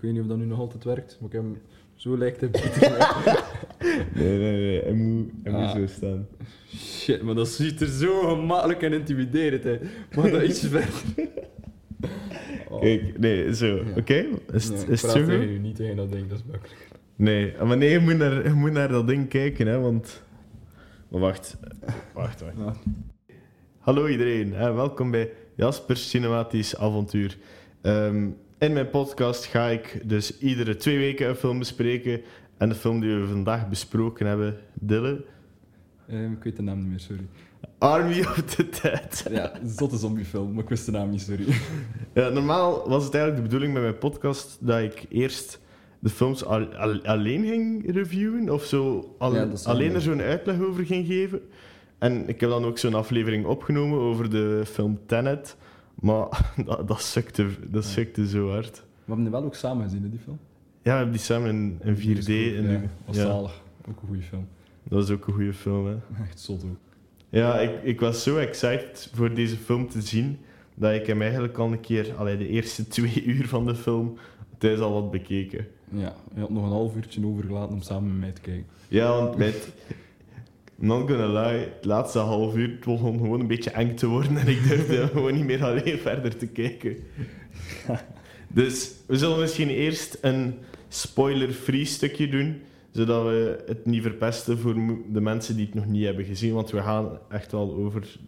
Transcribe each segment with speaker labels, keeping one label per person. Speaker 1: weet niet of dat nu nog altijd werkt, maar ik heb hem- zo lijkt het beter.
Speaker 2: Nee, nee, nee. Hij moet, hij moet
Speaker 1: Ah.
Speaker 2: zo staan.
Speaker 1: Shit, maar dat ziet er zo gemakkelijk en intimiderend uit. Maar dat is verder. Oh.
Speaker 2: Kijk, nee, zo. Oké? Is,
Speaker 1: Nee,
Speaker 2: het
Speaker 1: ik praat
Speaker 2: is het zo
Speaker 1: tegen
Speaker 2: goed?
Speaker 1: u niet tegen dat ding, dat is makkelijk.
Speaker 2: Nee, ah, maar nee, je moet naar, je moet naar dat ding kijken, hè, want... Maar wacht. Wacht, wacht.
Speaker 1: Ja.
Speaker 2: Hallo iedereen en welkom bij Jaspers Cinematisch Avontuur. Ehm, in mijn podcast ga ik dus iedere twee weken een film bespreken. En de film die we vandaag besproken hebben, Dille,
Speaker 1: Ehm, ik weet de naam niet meer, sorry.
Speaker 2: Army of the Dead.
Speaker 1: Ja, zotte zombiefilm, maar ik wist de naam niet, sorry.
Speaker 2: Ja, normaal was het eigenlijk de bedoeling met mijn podcast dat ik eerst de films al- al- alleen ging reviewen of zo al-
Speaker 1: Ja, dat is
Speaker 2: alleen
Speaker 1: wel-
Speaker 2: er zo'n uitleg over ging geven. En ik heb dan ook zo'n aflevering opgenomen over de film Tenet. Maar dat, dat, sukte, dat
Speaker 1: Ja.
Speaker 2: sukte zo hard.
Speaker 1: We hebben die wel ook samen gezien, hè, die film.
Speaker 2: Ja, we hebben die samen in, in 4D.
Speaker 1: Ja,
Speaker 2: in de-
Speaker 1: was
Speaker 2: ja,
Speaker 1: zalig. Ook een goede film.
Speaker 2: dat is ook een goede film. Hè.
Speaker 1: Echt zot ook.
Speaker 2: Ja, ik, ik was zo excited voor deze film te zien dat ik hem eigenlijk al een keer, allee, de eerste twee uur van de film, thuis al had bekeken.
Speaker 1: Ja, je had nog een half uurtje overgelaten om samen met mij te kijken.
Speaker 2: Ja, want met. Not gonna lie, het laatste half uur het begon gewoon een beetje eng te worden en ik durfde gewoon niet meer alleen verder te kijken. Dus we zullen misschien eerst een spoiler-free stukje doen, zodat we het niet verpesten voor mo- de mensen die het nog niet hebben gezien, want we gaan echt wel over het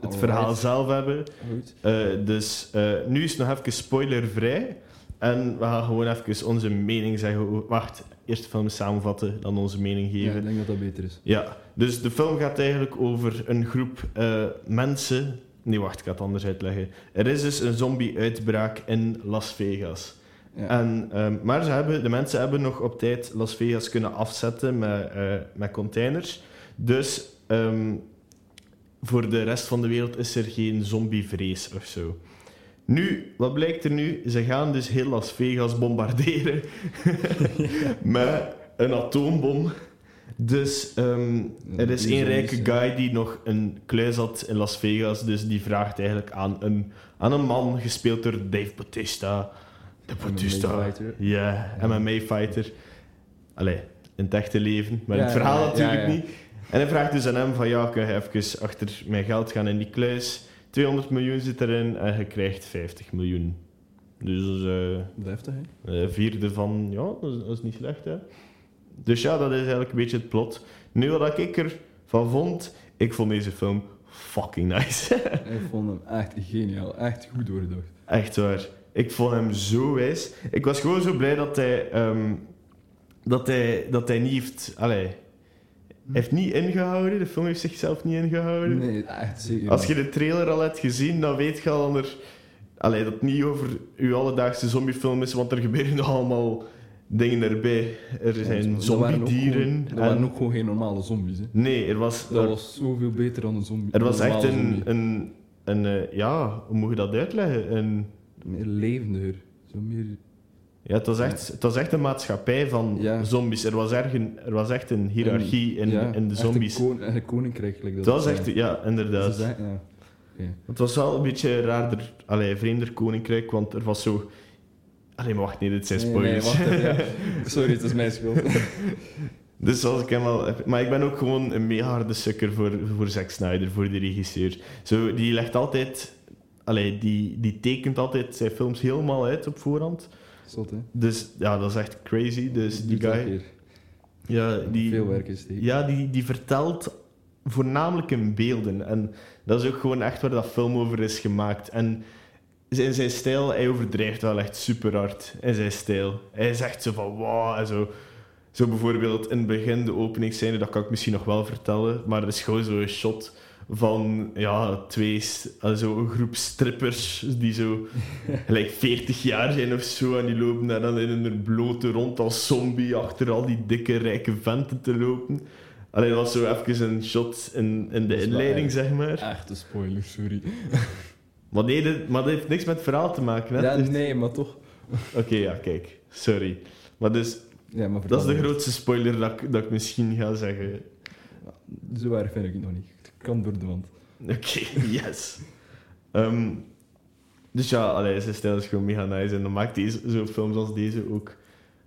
Speaker 1: Alright.
Speaker 2: verhaal zelf hebben.
Speaker 1: Goed.
Speaker 2: Eh, dus eh, nu is het nog even spoilervrij. En we gaan gewoon even onze mening zeggen. Wacht, eerst de film samenvatten, dan onze mening
Speaker 1: Ja, ik
Speaker 2: geven. Ja,
Speaker 1: denk dat dat beter is.
Speaker 2: dus de film gaat eigenlijk over een groep eh, mensen. Nee, wacht, ik ga het anders uitleggen. Er is dus een zombie-uitbraak in Las Vegas.
Speaker 1: Ja.
Speaker 2: En, ehm, maar ze hebben, de mensen hebben nog op tijd Las Vegas kunnen afzetten met, eh, met containers. Dus ehm, voor de rest van de wereld is er geen zombievrees of zo. Nu, wat blijkt er nu? Ze gaan dus heel Las Vegas bombarderen met een atoombom. Dus ehm, er is
Speaker 1: Die zombies,
Speaker 2: één rijke
Speaker 1: ja.
Speaker 2: guy die nog een kluis had in Las Vegas. Dus die vraagt eigenlijk aan een, aan een man, gespeeld door Dave Bautista.
Speaker 1: En
Speaker 2: De
Speaker 1: een
Speaker 2: Bautista.
Speaker 1: Fighter.
Speaker 2: Ja,
Speaker 1: Ja.
Speaker 2: MMA-fighter. Allee, in het echte leven, maar
Speaker 1: Ja,
Speaker 2: in het verhaal
Speaker 1: ja, ja,
Speaker 2: natuurlijk
Speaker 1: ja, ja.
Speaker 2: niet. En hij vraagt dus aan hem van, ja, kun je even achter mijn geld gaan in die kluis? 200 miljoen zit erin en je krijgt 50 miljoen. Dus eh,
Speaker 1: Deftig, hè?
Speaker 2: eh, vierde van, ja, dat is, dat is niet slecht, hè. Dus ja, dat is eigenlijk een beetje het plot. Nu, wat ik ervan vond, ik vond deze film fucking nice.
Speaker 1: Ik vond hem echt geniaal. Echt goed doordacht.
Speaker 2: Echt waar. Ik vond hem zo wijs. Ik was gewoon zo blij dat hij... ehm, dat, hij dat hij niet heeft... Allee, hij heeft niet ingehouden. De film heeft zichzelf niet ingehouden.
Speaker 1: Nee, echt zeker.
Speaker 2: Als je de trailer al hebt gezien, dan weet je al dat er... Allee, dat het niet over uw alledaagse zombiefilm is, want er gebeuren nog allemaal dingen erbij. Er
Speaker 1: dus
Speaker 2: zijn zombiedieren.
Speaker 1: Dat waren
Speaker 2: en-
Speaker 1: ook gewoon geen normale zombies, hè?
Speaker 2: Nee, er was...
Speaker 1: Dat was zoveel beter dan een zombie.
Speaker 2: Er was echt
Speaker 1: normale zombie.
Speaker 2: een... een, een eh, ja, hoe moet je dat uitleggen? Een...
Speaker 1: Meer levendiger. Zo meer...
Speaker 2: Ja, het was echt, het was echt een maatschappij van
Speaker 1: Ja.
Speaker 2: zombies. Er was, erg een, er was echt een hiërarchie in,
Speaker 1: ja,
Speaker 2: in de
Speaker 1: echt
Speaker 2: zombies.
Speaker 1: Een, kon- echt een koninkrijk. gelijk
Speaker 2: Het
Speaker 1: dat
Speaker 2: was
Speaker 1: ze
Speaker 2: echt,
Speaker 1: zeggen.
Speaker 2: ja, inderdaad.
Speaker 1: Ze zeggen, ja. Oké.
Speaker 2: Het was wel een beetje een raarder, allee, vreemder koninkrijk, want er was zo... Allee, maar wacht, nee, dit zijn
Speaker 1: Nee, nee,
Speaker 2: spoilers.
Speaker 1: wacht even, ja. Sorry, het is mijn schuld.
Speaker 2: dus als ik hem al... heb- Maar ik ben ook gewoon een mega harde sukker voor, voor Zack Snyder, voor de regisseur. Zo, die legt altijd... Allee, die, die tekent altijd zijn films helemaal uit op voorhand.
Speaker 1: Zot, hè?
Speaker 2: Dus ja, dat is echt crazy. Dus die
Speaker 1: Duurt wel
Speaker 2: guy...
Speaker 1: een
Speaker 2: Ja,
Speaker 1: keer.
Speaker 2: die,
Speaker 1: Veel werk is die.
Speaker 2: Ja, die, die vertelt voornamelijk in beelden. En dat is ook gewoon echt waar dat film over is gemaakt. En in zijn stijl, hij overdrijft wel echt super hard in zijn stijl. Hij zegt zo van wow en zo. Zo bijvoorbeeld in het begin, de openingsscène, dat kan ik misschien nog wel vertellen. Maar er is gewoon zo'n shot van ja, twee, s- eh, zo een groep strippers die zo gelijk 40 jaar zijn of zo. En die lopen daar dan in hun blote rond als zombie achter al die dikke rijke venten te lopen. Alleen dat was zo even een shot in, in
Speaker 1: Dat
Speaker 2: de
Speaker 1: is wel
Speaker 2: inleiding,
Speaker 1: erg.
Speaker 2: zeg maar.
Speaker 1: Echt een spoiler, sorry.
Speaker 2: Maar, nee, dit- maar dat heeft niks met het verhaal te maken. Hè?
Speaker 1: Ja,
Speaker 2: Dus-
Speaker 1: nee, maar toch.
Speaker 2: Oké, ja, kijk. Sorry. Maar dus,
Speaker 1: Ja, maar
Speaker 2: dat is de
Speaker 1: vertel
Speaker 2: grootste spoiler dat ik, dat ik misschien ga zeggen.
Speaker 1: maar. Zo erg vind ik het nog niet. Het kan door de wand.
Speaker 2: Oké, yes. Ehm, Dus ja, allee, zijn stijl is gewoon mega nice. En dan maakt deze, zo films als deze ook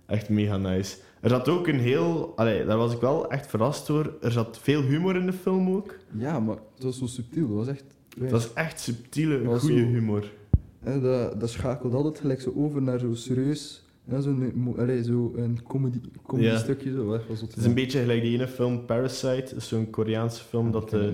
Speaker 2: echt mega nice. Er zat ook een heel... Allee, daar was ik wel echt verrast door. Er zat veel humor in de film ook.
Speaker 1: Ja, maar dat was zo subtiel. Dat was echt...
Speaker 2: Het was echt
Speaker 1: Dat
Speaker 2: subtiele,
Speaker 1: was
Speaker 2: goede
Speaker 1: zo-
Speaker 2: humor.
Speaker 1: En dat, dat schakelt altijd gelijk zo over naar zo serieus. En zo'n mo- allee, zo een comedy, comedy
Speaker 2: Ja.
Speaker 1: stukje. Zo, echt wel zo
Speaker 2: Het is een beetje gelijk die ene film, Parasite. Dat is zo'n Koreaanse film dat... eh,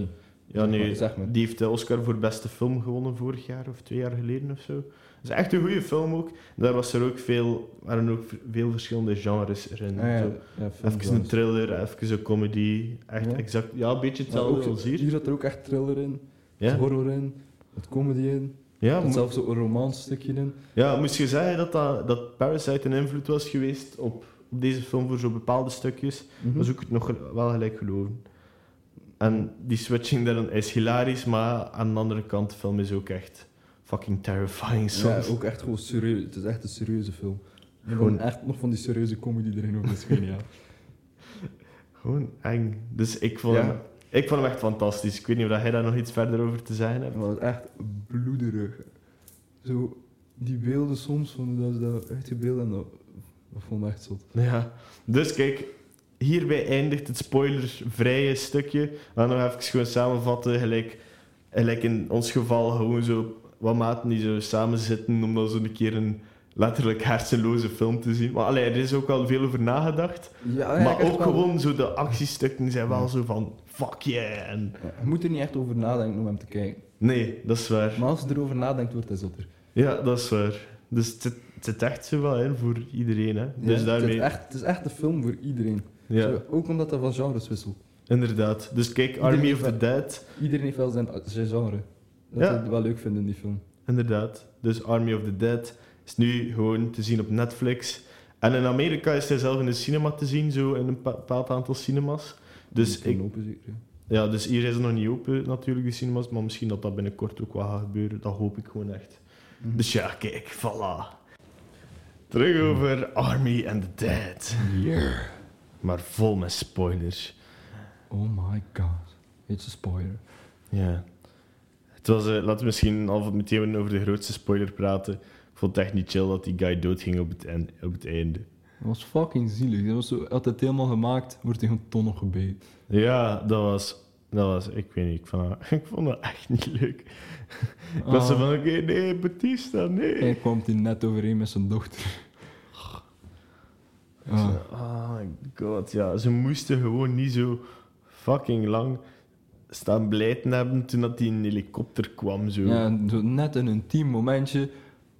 Speaker 2: Ja, nee,
Speaker 1: Zeg maar.
Speaker 2: die heeft de Oscar voor beste film gewonnen vorig jaar of twee jaar geleden of zo. Dat is echt een goede film ook. Daar was er ook veel, waren ook veel verschillende genres erin.
Speaker 1: Ah, ja,
Speaker 2: Zo,
Speaker 1: ja,
Speaker 2: even een thriller, even een comedy. Echt
Speaker 1: Ja.
Speaker 2: exact, ja, een beetje
Speaker 1: Maar ook
Speaker 2: hetzelfde als
Speaker 1: zo-
Speaker 2: hier.
Speaker 1: Hier zat er ook echt thriller in,
Speaker 2: Ja,
Speaker 1: horror in, wat comedy in.
Speaker 2: ja,
Speaker 1: en
Speaker 2: mo-
Speaker 1: zelfs zo'n romance stukje in.
Speaker 2: ja moest je zeggen dat, dat, dat Parasite een invloed was geweest op, op deze film voor zo bepaalde stukjes,
Speaker 1: Mhm.
Speaker 2: dan zoek ik het nog wel gelijk geloven. En die switching daarin is hilarisch, maar aan de andere kant, de film is ook echt fucking terrifying soms.
Speaker 1: Ja, ook echt gewoon serieus. Het is echt een serieuze film. En
Speaker 2: Gewoon-
Speaker 1: gewoon echt nog van die serieuze comedy erin ook, dat is geniaal.
Speaker 2: Gewoon eng. Dus ik vond,
Speaker 1: Ja.
Speaker 2: hem, ik vond hem echt fantastisch. Ik weet niet of jij daar nog iets verder over te zeggen hebt.
Speaker 1: Maar het is echt bloederig. Zo, die beelden soms, van dat is dat uitgebeeld en dat, dat vond ik echt zot.
Speaker 2: Ja. Dus kijk, hierbij eindigt het spoilervrije stukje. Maar nog even gewoon samenvatten, gelijk, gelijk in ons geval gewoon zo wat maten die zo samen zitten om dan zo een keer een letterlijk hersenloze film te zien. Maar allee, er is ook al veel over nagedacht.
Speaker 1: Oh Ja,
Speaker 2: maar ook gewoon zo de actiestukken zijn wel zo van fuck yeah. En...
Speaker 1: je moet er niet echt over nadenken om hem te kijken.
Speaker 2: Nee, dat is waar.
Speaker 1: Maar als je erover nadenkt, wordt hij zotter.
Speaker 2: Ja, dat is waar. Dus het zit, het zit echt zo wel in voor iedereen. Hè?
Speaker 1: Ja,
Speaker 2: Dus
Speaker 1: het,
Speaker 2: daarmee.
Speaker 1: is echt, het is echt een film voor iedereen.
Speaker 2: Ja,
Speaker 1: Zo, ook omdat dat van genres wisselt.
Speaker 2: inderdaad. Dus kijk, Army
Speaker 1: Iedereen
Speaker 2: of the
Speaker 1: heeft-
Speaker 2: Dead.
Speaker 1: Iedereen heeft wel zijn, zijn genre. Dat
Speaker 2: Ja.
Speaker 1: ik het wel leuk vind in die film.
Speaker 2: Inderdaad. Dus Army of the Dead is nu gewoon te zien op Netflix. En in Amerika is hij zelf in de cinema te zien, zo in een pa- bepaald aantal cinemas. Dus,
Speaker 1: Die
Speaker 2: ik,
Speaker 1: kan lopen, zeker.
Speaker 2: ja, dus hier is het nog niet open, natuurlijk, de cinemas. Maar misschien dat dat binnenkort ook wel gaat gebeuren. Dat hoop ik gewoon echt.
Speaker 1: Mhm.
Speaker 2: Dus ja, kijk, voilà. Terug over Army and the Dead.
Speaker 1: Mm-hmm.
Speaker 2: Maar vol met spoilers.
Speaker 1: Oh my god. It's a spoiler.
Speaker 2: Ja. Het was, eh, laten we misschien al meteen over de grootste spoiler praten. Ik vond het echt niet chill dat die guy doodging op het, en- op het einde.
Speaker 1: Dat was fucking zielig. Dat was zo, had het helemaal gemaakt, wordt hij gewoon ton nog gebeten.
Speaker 2: Ja, dat was... Dat was ik weet niet, ik vond, dat- ik vond dat echt niet leuk. Ik was
Speaker 1: Ah.
Speaker 2: zo van, oké, nee, Batista, nee.
Speaker 1: Hij kwam hij net overeen met zijn dochter. Ah.
Speaker 2: Oh my god, ja. Ze moesten gewoon niet zo fucking lang staan blijten hebben toen dat die in de helikopter kwam. Zo.
Speaker 1: Ja, zo net een intiem momentje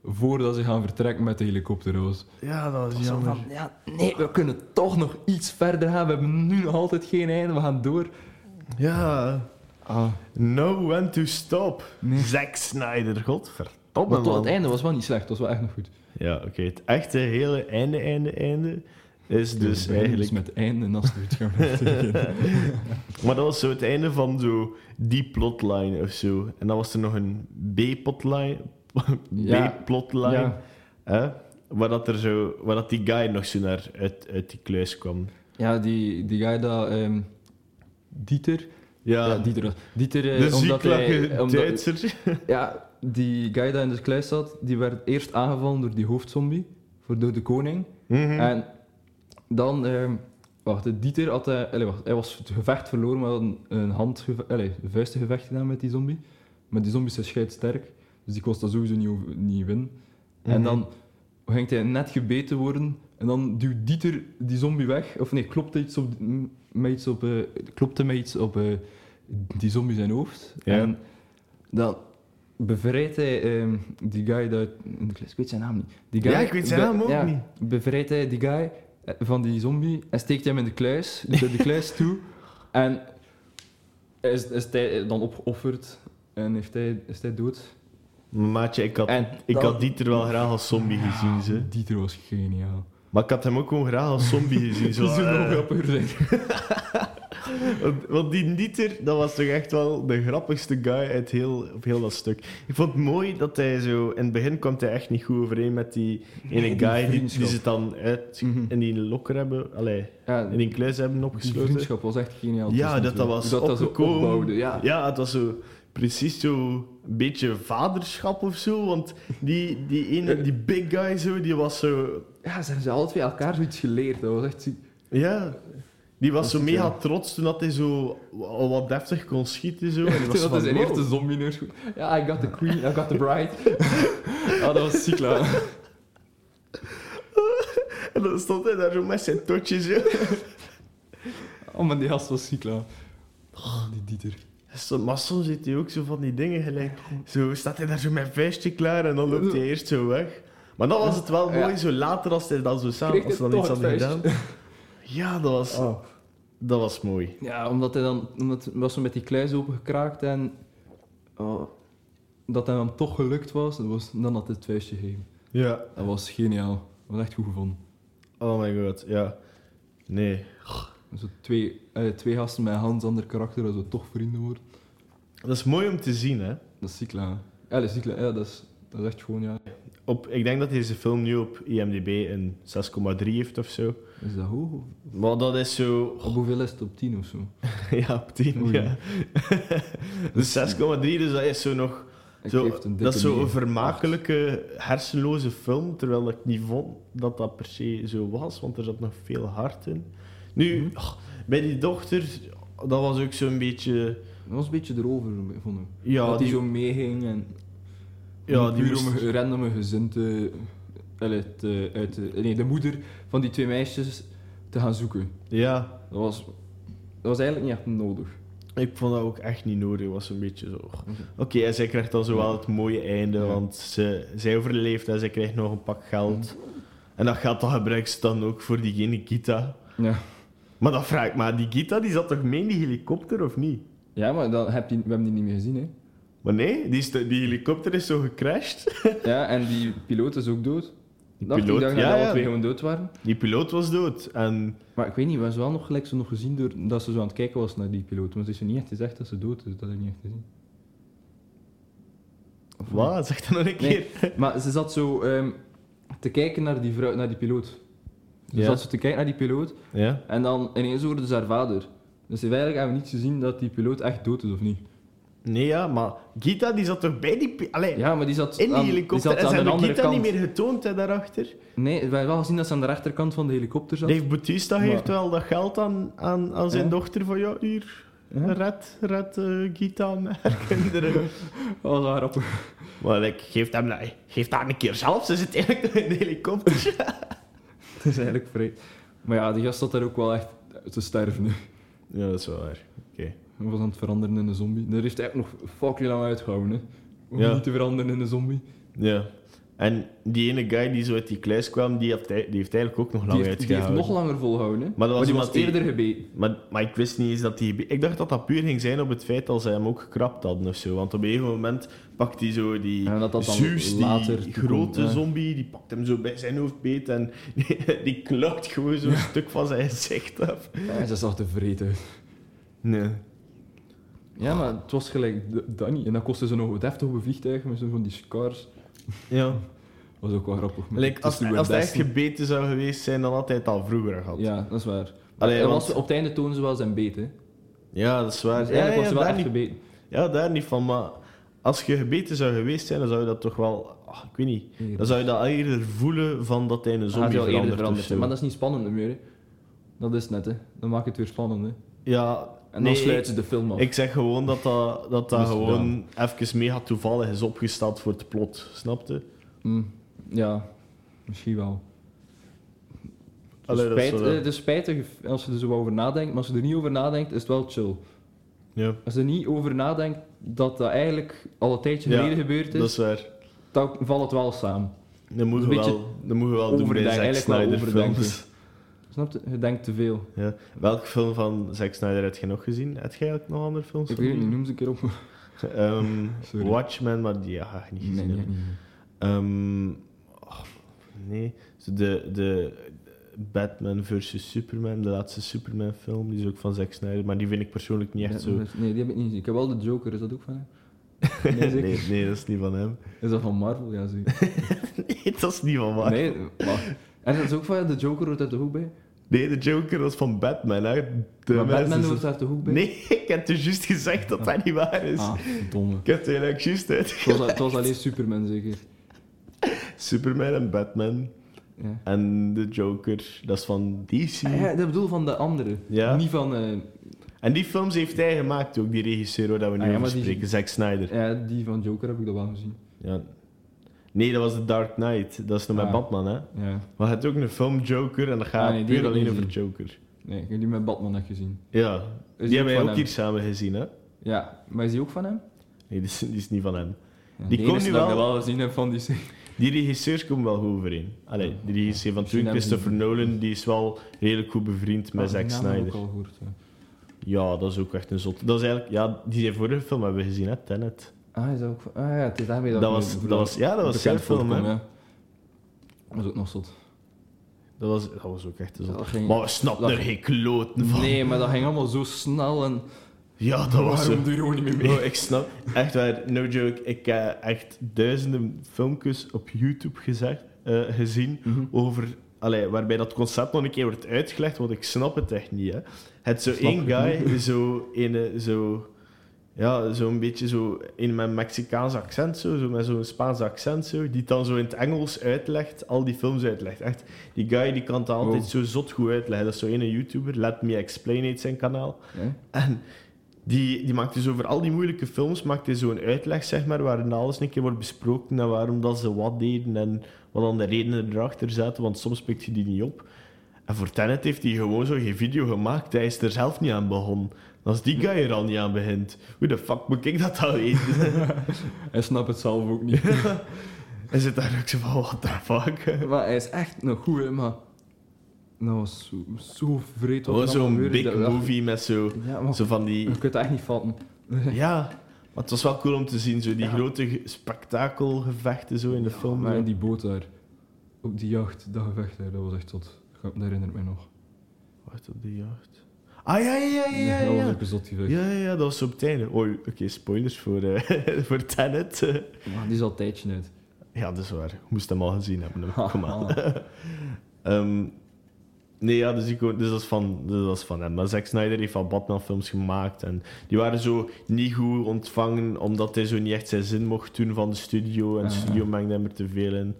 Speaker 1: voordat ze gaan vertrekken met de helikopter. Dat was.
Speaker 2: Ja, dat was
Speaker 1: Zo
Speaker 2: jammer.
Speaker 1: van, ja, nee, we kunnen toch nog iets verder gaan. We hebben nu nog altijd geen einde, we gaan door.
Speaker 2: Ja,
Speaker 1: Ah.
Speaker 2: No when to stop.
Speaker 1: Nee.
Speaker 2: Zack Snyder, godverdomme
Speaker 1: Maar tot
Speaker 2: man. Dus
Speaker 1: het einde was wel niet slecht, dat was wel echt nog goed.
Speaker 2: Ja, oké. Het echte hele einde, einde, einde is dus
Speaker 1: Bijna
Speaker 2: eigenlijk...
Speaker 1: iets met einde en als het goed gaat. met het
Speaker 2: Maar dat was zo het einde van zo die plotline of zo. En dan was er nog een B-plotline.
Speaker 1: Ja.
Speaker 2: B-plotline.
Speaker 1: ja.
Speaker 2: Hè? Waar, dat er zo, waar dat die guy nog zo naar uit, uit die kluis kwam.
Speaker 1: ja, die, die guy dat... ehm, Dieter?
Speaker 2: Ja,
Speaker 1: Ja, Dieter. was- Dieter, eh,
Speaker 2: de
Speaker 1: omdat
Speaker 2: zieklage
Speaker 1: hij... Omdat,
Speaker 2: Duitser.
Speaker 1: Ja, die guy die in de kluis zat, die werd eerst aangevallen door die hoofdzombie, voor door de koning.
Speaker 2: Mhm.
Speaker 1: En dan, ehm, wacht, de Dieter had, eh, allee, wacht, hij was het gevecht verloren, maar had een, een hand, allee, een vuistengevecht gedaan met die zombie. Maar die zombie zijn scheidsterk, dus die kost dat sowieso niet, over- niet winnen. En
Speaker 2: Mhm.
Speaker 1: dan ging hij net gebeten worden, en dan duwt Dieter die zombie weg, of nee, klopte iets op, m- met iets op, eh, klopte met iets op eh, die zombie zijn hoofd.
Speaker 2: Ja.
Speaker 1: En dan bevrijdt hij ehm, die guy dat in de klas, ik weet zijn naam niet. Die guy,
Speaker 2: Ja, ik weet zijn
Speaker 1: be-
Speaker 2: naam ook
Speaker 1: ja,
Speaker 2: niet.
Speaker 1: Bevrijdt hij die guy eh, van die zombie en steekt hem in de kluis, dus naar de kluis toe. En is, is hij dan opgeofferd en heeft hij, is hij dood.
Speaker 2: Maatje, ik had,
Speaker 1: En
Speaker 2: ik
Speaker 1: dan-
Speaker 2: had Dieter wel graag als zombie gezien, ze.
Speaker 1: Dieter was geniaal.
Speaker 2: Maar ik had hem ook gewoon graag als zombie gezien. Zo,
Speaker 1: Die zou nog
Speaker 2: eh,
Speaker 1: grappiger zijn.
Speaker 2: Want, want die Dieter, dat was toch echt wel de grappigste guy uit heel, op heel dat stuk. Ik vond het mooi dat hij zo... In het begin kwam hij echt niet goed overeen met die ene
Speaker 1: Nee, die
Speaker 2: guy die, die
Speaker 1: vriendschap.
Speaker 2: ze dan uit,
Speaker 1: Mhm.
Speaker 2: in die lokker hebben... Allee,
Speaker 1: Ja,
Speaker 2: in die kluis hebben
Speaker 1: die
Speaker 2: opgesloten.
Speaker 1: vriendschap was echt geniaal. Dus
Speaker 2: Ja,
Speaker 1: tussen
Speaker 2: dat
Speaker 1: de
Speaker 2: dat
Speaker 1: twee.
Speaker 2: was
Speaker 1: dat dat zo
Speaker 2: opgekomen.
Speaker 1: opbouwde, ja.
Speaker 2: het was zo precies zo een beetje vaderschap of zo. Want die, die ene, die big guy zo, die was zo...
Speaker 1: Ja, ze hebben ze alle twee elkaar zoiets geleerd. Dat was echt ziek.
Speaker 2: Ja, die was
Speaker 1: Dat
Speaker 2: zo
Speaker 1: is
Speaker 2: mega
Speaker 1: het, ja.
Speaker 2: trots toen dat hij zo al wat deftig kon schieten. Zo. En die was
Speaker 1: Toen
Speaker 2: zo
Speaker 1: had hij
Speaker 2: van,
Speaker 1: zijn
Speaker 2: wow.
Speaker 1: eerste zombie neus. Ja, I got the queen, I got the bride. Ah, dat was ziek, laat.
Speaker 2: En dan stond hij daar zo met zijn totje zo.
Speaker 1: Oh, maar die gast was ziek, laat. Oh, die Dieter.
Speaker 2: Dus Zo- Maar soms zit hij ook zo van die dingen gelijk. Zo staat hij daar zo met vuistje klaar en dan loopt hij eerst zo weg. Maar dan was het wel
Speaker 1: Ja.
Speaker 2: mooi, zo later als hij dan zo samen
Speaker 1: Kreeg
Speaker 2: als ze
Speaker 1: hij
Speaker 2: dan iets
Speaker 1: toch
Speaker 2: hadden
Speaker 1: het Oh.
Speaker 2: gedaan. Ja, dat was, dat was mooi.
Speaker 1: Ja, omdat hij dan... Omdat was ze met die kluis opengekraakt en... oh, dat hij dan toch gelukt was, dat was dan had hij het vuistje gegeven.
Speaker 2: Ja.
Speaker 1: Dat was geniaal. Dat was echt goed gevonden.
Speaker 2: Oh my god, ja. Nee.
Speaker 1: Zo twee, eh, twee gasten met een hans ander karakter, dat ze toch vrienden worden.
Speaker 2: Dat is mooi om te zien, hè.
Speaker 1: Dat is ziek, laat. Ja, dat is ziek, laat. Ja, dat is, dat is echt gewoon, ja.
Speaker 2: Op, ik denk dat deze film nu op IMDb een 6,3 heeft of zo.
Speaker 1: Is dat hoog? of-
Speaker 2: Maar dat is zo...
Speaker 1: Op hoeveel is het? Op 10 of zo?
Speaker 2: Ja, op 10,
Speaker 1: Oei.
Speaker 2: ja. dus 6,3, dus dat is zo nog...
Speaker 1: Ik
Speaker 2: Zo,
Speaker 1: geef het een dikke
Speaker 2: dat is zo'n
Speaker 1: negen.
Speaker 2: vermakelijke, hersenloze film, terwijl ik niet vond dat dat per se zo was, want er zat nog veel hart in. Nu,
Speaker 1: Mhm.
Speaker 2: ach, bij die dochter, dat was ook zo'n beetje...
Speaker 1: Dat was een beetje erover, vond ik.
Speaker 2: Ja,
Speaker 1: dat hij
Speaker 2: die,
Speaker 1: zo meeging en
Speaker 2: ja, die
Speaker 1: puur om
Speaker 2: moest-
Speaker 1: een random gezin te, allee, te- uit de, nee, de moeder van die twee meisjes te gaan zoeken.
Speaker 2: ja,
Speaker 1: Dat was, dat was eigenlijk niet echt nodig.
Speaker 2: ik vond dat ook echt niet nodig, was een beetje zo... ach. Oké, en zij krijgt dan zo wel het mooie einde,
Speaker 1: Mhm. Ja.
Speaker 2: want ze, zij overleeft en zij krijgt nog een pak geld.
Speaker 1: Mhm.
Speaker 2: En dat geld dat gebruikt ze dan ook voor diegene Gita.
Speaker 1: Ja,
Speaker 2: Maar dan vraag ik me, die Gita die zat toch mee in die helikopter, of niet?
Speaker 1: ja maar dan heb je, we hebben die niet meer gezien, hè.
Speaker 2: Maar nee, die, is te- die helikopter is zo gecrashed.
Speaker 1: Ja, en die piloot is ook dood.
Speaker 2: Die
Speaker 1: Dacht ik dacht dat
Speaker 2: ja,
Speaker 1: alle
Speaker 2: ja.
Speaker 1: twee gewoon dood waren.
Speaker 2: die piloot was dood. En
Speaker 1: Maar ik weet niet, we hebben ze wel nog gelijk zo nog gezien door, dat ze zo aan het kijken was naar die piloot. Want ze is er niet echt gezegd dat ze dood is, dat heb ik niet echt gezien. Of wel?
Speaker 2: wat? Zeg dat nog een
Speaker 1: Nee.
Speaker 2: keer.
Speaker 1: Maar ze zat zo ehm, te kijken naar die vrouw, naar die piloot. Ze
Speaker 2: Ja.
Speaker 1: zat zo te kijken naar die piloot
Speaker 2: Ja.
Speaker 1: en dan ineens hoorde ze haar vader. Dus ze eigenlijk hebben niet gezien dat die piloot echt dood is of niet.
Speaker 2: Nee, ja, maar Gita die zat toch bij die... pi- Allee,
Speaker 1: Ja, maar die zat
Speaker 2: in die
Speaker 1: aan,
Speaker 2: helikopter.
Speaker 1: die
Speaker 2: en
Speaker 1: zat
Speaker 2: ze
Speaker 1: aan de
Speaker 2: hebben
Speaker 1: andere
Speaker 2: Gita
Speaker 1: kant.
Speaker 2: niet meer getoond, hè, daarachter.
Speaker 1: Nee, we hebben wel gezien dat ze aan de rechterkant van de helikopter zat.
Speaker 2: Dave Bautista
Speaker 1: Maar-
Speaker 2: heeft wel dat geld aan, aan, aan zijn
Speaker 1: Ja.
Speaker 2: dochter van... Ja, hier,
Speaker 1: Ja.
Speaker 2: red, red eh, Gita en haar kinderen.
Speaker 1: Oh, dat was grappig.
Speaker 2: maar ik geef hem... nou, Geef haar een keer zelf. Ze zit eigenlijk in de helikopter.
Speaker 1: Het is eigenlijk vrij. Maar ja, die gast zat daar ook wel echt te sterven. hè.
Speaker 2: ja, dat is wel waar. Oké.
Speaker 1: Hij was aan het veranderen in een zombie. Daar heeft hij echt nog fucking lang uitgehouden. Hè. Om
Speaker 2: Ja.
Speaker 1: niet te veranderen in een zombie.
Speaker 2: Ja. En die ene guy die zo uit die kluis kwam, die heeft, die heeft eigenlijk ook nog
Speaker 1: Die
Speaker 2: lang
Speaker 1: heeft, die heeft
Speaker 2: uitgehouden.
Speaker 1: nog langer volgehouden. Hè.
Speaker 2: Maar dat was
Speaker 1: die
Speaker 2: iemand
Speaker 1: was
Speaker 2: die-
Speaker 1: eerder gebeten.
Speaker 2: maar, maar ik wist niet eens dat die... Ik dacht dat dat puur ging zijn op het feit dat ze hem ook gekrapt hadden of zo. Want op een gegeven moment pakt hij zo die
Speaker 1: En dat dat dan
Speaker 2: Zeus,
Speaker 1: later
Speaker 2: die
Speaker 1: toekomt,
Speaker 2: grote
Speaker 1: ja.
Speaker 2: zombie, die pakt hem zo bij zijn hoofd beet en die, die klauwt gewoon zo'n stuk van zijn gezicht af.
Speaker 1: Ja, ze zag te vreten uit.
Speaker 2: Nee.
Speaker 1: Ja, maar het was gelijk D- Danny. En dat kostte ze nog wat heftig op een vliegtuig met zo van die scars.
Speaker 2: Ja.
Speaker 1: was ook wel grappig. maar
Speaker 2: Like,
Speaker 1: het
Speaker 2: als
Speaker 1: is nu
Speaker 2: als hij
Speaker 1: het
Speaker 2: echt
Speaker 1: beste.
Speaker 2: gebeten zou geweest zijn, dan had hij het al vroeger gehad.
Speaker 1: Ja, dat is waar.
Speaker 2: Allee,
Speaker 1: en
Speaker 2: want-
Speaker 1: was, op het einde tonen ze wel zijn beet, hè.
Speaker 2: Ja, dat is waar.
Speaker 1: Dus
Speaker 2: Ja,
Speaker 1: eigenlijk
Speaker 2: ja,
Speaker 1: was ze wel
Speaker 2: daar
Speaker 1: echt
Speaker 2: niet-
Speaker 1: gebeten.
Speaker 2: Ja, daar niet van, maar als je gebeten zou geweest zijn, dan zou je dat toch wel... ah, ik weet niet. Dan zou je dat eerder voelen van dat hij in een
Speaker 1: Hij had
Speaker 2: zombie
Speaker 1: wel eerder
Speaker 2: verandert.
Speaker 1: veranderd,
Speaker 2: of zo.
Speaker 1: hè. maar dat is niet spannend meer, hè. Dat is het net, hè. Dan maakt het weer spannend, hè.
Speaker 2: Ja,
Speaker 1: En
Speaker 2: nee,
Speaker 1: dan sluit ze de film af. Dus,
Speaker 2: ik, ik zeg gewoon dat dat, dat, dat
Speaker 1: Dat is
Speaker 2: gewoon even mega toevallig is opgesteld voor het plot. Snapte?
Speaker 1: Hm, ja, misschien wel. Het is
Speaker 2: Allee, dat is
Speaker 1: spijt-
Speaker 2: wel-
Speaker 1: eh, het is spijtig als je er zo over nadenkt, maar als je er niet over nadenkt, is het wel chill.
Speaker 2: Ja,
Speaker 1: Als je er niet over nadenkt dat dat eigenlijk al een tijdje
Speaker 2: Ja,
Speaker 1: geleden gebeurd is,
Speaker 2: dat is waar.
Speaker 1: dan valt het wel samen.
Speaker 2: Dat moeten we
Speaker 1: Een beetje
Speaker 2: wel, dat moeten we wel doen bij
Speaker 1: overdenken,
Speaker 2: Zack
Speaker 1: eigenlijk wel
Speaker 2: Snyder
Speaker 1: overdenken.
Speaker 2: films.
Speaker 1: Snap je? Je denkt te veel.
Speaker 2: Ja. Welke film van Zack Snyder heb je nog gezien? Heb jij ook nog andere films?
Speaker 1: Ik
Speaker 2: van
Speaker 1: weet het
Speaker 2: die?
Speaker 1: niet, noem ze een keer op.
Speaker 2: Ehm,
Speaker 1: Sorry.
Speaker 2: Watchmen, maar die ga ik niet gezien hebben. Ehm, oh, nee, Zo de, de Batman versus Superman, de laatste Superman-film, die is ook van Zack Snyder, maar die vind ik persoonlijk niet echt zo.
Speaker 1: Nee, die heb ik niet gezien. Ik heb wel de Joker, is dat ook van hem? Nee, zeker?
Speaker 2: Nee, nee, dat is niet van hem.
Speaker 1: Is dat van Marvel? Ja, zeker.
Speaker 2: Nee, dat is niet van mij.
Speaker 1: Nee, wacht. En dat is ook van ja, de Joker hoort daar toch ook bij?
Speaker 2: Nee, de Joker was van Batman. Hè. De
Speaker 1: maar
Speaker 2: mensen-
Speaker 1: Batman hoort daar toch ook bij?
Speaker 2: Nee, ik heb dus juist gezegd dat dat niet waar is.
Speaker 1: Ah, verdomme.
Speaker 2: Ik heb het eigenlijk juist uit.
Speaker 1: Het was, het was alleen Superman, zeker.
Speaker 2: Superman en Batman
Speaker 1: Ja.
Speaker 2: en de Joker, dat is van DC.
Speaker 1: Ah, ja, dat bedoel van de andere.
Speaker 2: Ja.
Speaker 1: Niet van... eh,
Speaker 2: En die films heeft hij gemaakt ook, die regisseur waar we nu
Speaker 1: Ah, ja,
Speaker 2: over
Speaker 1: maar die-
Speaker 2: spreken, Zack Snyder.
Speaker 1: ja, die van Joker heb ik dat wel gezien.
Speaker 2: Ja. Nee, dat was The Dark Knight. Dat is nog
Speaker 1: Ah.
Speaker 2: met Batman, hè?
Speaker 1: Ja.
Speaker 2: Maar je hebt ook een film Joker en dat gaat
Speaker 1: Ah, nee, die
Speaker 2: puur
Speaker 1: heb ik
Speaker 2: alleen
Speaker 1: niet
Speaker 2: over Joker.
Speaker 1: Nee, ik heb die met Batman net gezien.
Speaker 2: Ja,
Speaker 1: die
Speaker 2: die
Speaker 1: ook
Speaker 2: hebben wij
Speaker 1: van
Speaker 2: ook
Speaker 1: hem?
Speaker 2: hier samen gezien, hè?
Speaker 1: Ja, maar is die ook van hem?
Speaker 2: Nee, die is, die is niet van hem.
Speaker 1: Ja,
Speaker 2: Die
Speaker 1: de
Speaker 2: kon
Speaker 1: enige
Speaker 2: nu
Speaker 1: dat ik
Speaker 2: wel-
Speaker 1: dat wel gezien heb van die serie.
Speaker 2: Die regisseurs komen wel goed overeen. Allee,
Speaker 1: Ah.
Speaker 2: die regisseur van
Speaker 1: Misschien
Speaker 2: toen,
Speaker 1: hebben ze-
Speaker 2: Christopher Nolan, die is wel redelijk
Speaker 1: Ah,
Speaker 2: goed bevriend met Zack Snyder.
Speaker 1: ook al gehoord, ja.
Speaker 2: Ja, dat is ook echt een zot. Dat is eigenlijk, ja, die zijn vorige film hebben we gezien, hè? Tenet.
Speaker 1: Ah, is dat ook van... Ah ja, het is daarmee dat...
Speaker 2: Dat
Speaker 1: ik
Speaker 2: was,
Speaker 1: me-
Speaker 2: dat was, ja, dat was zijn
Speaker 1: bekend
Speaker 2: film,
Speaker 1: voorkom,
Speaker 2: hè?
Speaker 1: ja. Dat was ook nog zot.
Speaker 2: Dat was, dat was ook echt een zot.
Speaker 1: Dat ging-
Speaker 2: Maar we snapten er
Speaker 1: dat-
Speaker 2: geen kloten van.
Speaker 1: Nee, maar dat ging allemaal zo snel en...
Speaker 2: Ja, dat was zo.
Speaker 1: Waarom doe je gewoon niet meer mee?
Speaker 2: Bro, ik snap. Echt waar, no joke. Ik heb echt duizenden filmpjes op YouTube gezegd, eh, gezien
Speaker 1: Mhm.
Speaker 2: over... Allee, waarbij dat concept nog een keer wordt uitgelegd, want ik snap het echt niet. Hè. Het zo
Speaker 1: Snap
Speaker 2: één
Speaker 1: ik
Speaker 2: guy, zo, een, eh, zo, ja, zo een beetje zo in mijn Mexicaans accent, zo, zo met zo'n Spaans accent, zo, die het dan zo in het Engels uitlegt, al die films uitlegt. Echt, die guy die kan het altijd
Speaker 1: Wow.
Speaker 2: zo zot goed uitleggen. Dat is zo ene YouTuber, Let Me Explain heet zijn kanaal.
Speaker 1: Ja.
Speaker 2: En die, die maakt dus over al die moeilijke films maakt hij zo'n uitleg, zeg maar, waarin alles een keer wordt besproken en waarom dat ze wat deden en wat dan de redenen erachter zaten, want soms pikt je die niet op. En voor Tenet heeft hij gewoon zo geen video gemaakt. Hij is er zelf niet aan begonnen. En Als die guy er al niet aan begint, hoe de fuck moet ik dat dan weten?
Speaker 1: Hij snapt het zelf ook niet.
Speaker 2: Hij zit daar ook zo van, what the fuck?
Speaker 1: Maar hij is echt nog goed, hè, maar... Dat was zo, zo vreed wat er allemaal
Speaker 2: Gewoon zo'n
Speaker 1: gebeurde,
Speaker 2: big
Speaker 1: dat we dachten-
Speaker 2: movie met zo,
Speaker 1: Ja, maar
Speaker 2: zo van die...
Speaker 1: je kunt dat echt niet vatten.
Speaker 2: Ja, maar het was wel cool om te zien, zo die grote ge- spektakelgevechten zo in de film.
Speaker 1: Maar
Speaker 2: zo.
Speaker 1: in die boot daar, op die jacht, dat gevecht daar, dat was echt tot. Dat herinnert mij nog.
Speaker 2: Wacht op de jacht. Ah ja, ja, ja, ja.
Speaker 1: dat was
Speaker 2: Ja,
Speaker 1: ook een zot gevecht.
Speaker 2: ja, ja, ja dat was op het einde. Oei, oké, spoilers voor, eh voor Tenet. eh.
Speaker 1: Maar die is al een tijdje uit.
Speaker 2: Ja, dat is waar. Ik moest hem al gezien hebben. hè. Kom aan.
Speaker 1: Ah,
Speaker 2: Ehm, nee, ja, dus, ik, wou- dus dat, is van, dus dat is van hem. Maar Zack Snyder heeft al Batman-films gemaakt. En die waren zo niet goed ontvangen, omdat hij zo niet echt zijn zin mocht doen van de studio. En de
Speaker 1: Ah, ja.
Speaker 2: studio mengde hem er te veel in.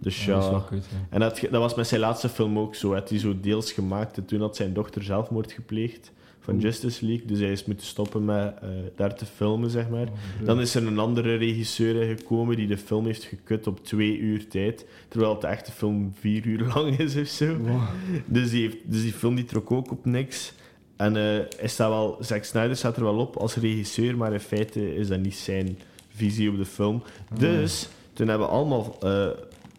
Speaker 2: Dus
Speaker 1: dat is
Speaker 2: ja.
Speaker 1: wel kut, hè.
Speaker 2: En dat, dat was met zijn laatste film ook zo. Had hij zo deels gemaakt. En toen had zijn dochter zelfmoord gepleegd van
Speaker 1: Oeh.
Speaker 2: Justice League. Dus hij is moeten stoppen met eh, daar te filmen, zeg maar.
Speaker 1: Oh,
Speaker 2: Dan is er een andere regisseur gekomen die de film heeft gekut op twee uur tijd. Terwijl het de echte film vier uur lang is of zo.
Speaker 1: Wow.
Speaker 2: Dus die, heeft, dus die film die trok ook op niks. En eh, is dat wel, Zack Snyder staat er wel op als regisseur, maar in feite is dat niet zijn visie op de film. Dus toen hebben allemaal eh,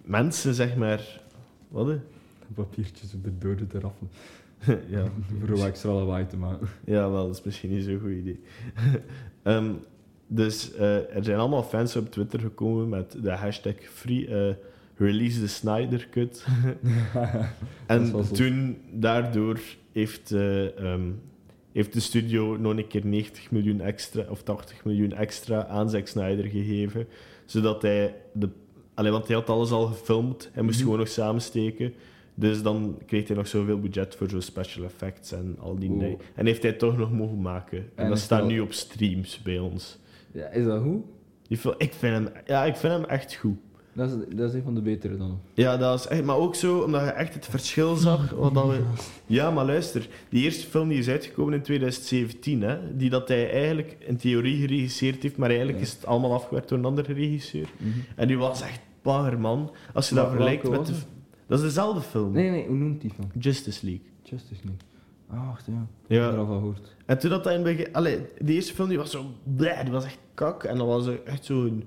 Speaker 2: mensen, zeg maar. Wat? hè?
Speaker 1: Papiertjes op de dode eraf.
Speaker 2: ja.
Speaker 1: Voor om extra lawaai te maken.
Speaker 2: ja, wel, dat is misschien niet zo'n goed idee. Ehm, dus eh, er zijn allemaal fans op Twitter gekomen met de hashtag free, eh, release the Snyder cut.
Speaker 1: Dat is wel
Speaker 2: En
Speaker 1: zot.
Speaker 2: toen, daardoor, heeft, eh, ehm, heeft de studio nog een keer 90 miljoen extra, of 80 miljoen extra aan Zack Snyder gegeven. Zodat hij de. Allee, want hij had alles al gefilmd, hij moest
Speaker 1: Mhm.
Speaker 2: gewoon nog samensteken. Dus dan kreeg hij nog zoveel budget voor zo'n special effects en al die
Speaker 1: Wow.
Speaker 2: dingen. En heeft hij het toch nog mogen maken. En,
Speaker 1: En
Speaker 2: dat
Speaker 1: is
Speaker 2: staat
Speaker 1: dat-
Speaker 2: nu op streams bij ons.
Speaker 1: Ja, is dat goed?
Speaker 2: Die film, ik, vind hem, ja, ik vind hem echt goed.
Speaker 1: Dat is, dat is een van de betere dan.
Speaker 2: Ja, dat is echt, maar ook zo, omdat je echt het verschil zag.
Speaker 1: Mm.
Speaker 2: Wat dat we... Ja, maar luister, die eerste film die is uitgekomen in 2017, hè, die dat hij eigenlijk in theorie geregisseerd heeft, maar eigenlijk
Speaker 1: Ja.
Speaker 2: is het allemaal afgewerkt door een andere regisseur.
Speaker 1: Mhm.
Speaker 2: En die was echt banger, man. Als je
Speaker 1: Maar
Speaker 2: dat vergelijkt
Speaker 1: welke
Speaker 2: met... De...
Speaker 1: was
Speaker 2: Dat is dezelfde film,
Speaker 1: Nee, nee, hoe noemt die van?
Speaker 2: Justice League.
Speaker 1: Justice League. Ah, wacht, ja. Ik heb er
Speaker 2: Ja.
Speaker 1: al van gehoord.
Speaker 2: En toen dat hij in het begin... Allee, die eerste film die was zo... Bleh, die was echt kak. En dat was echt zo'n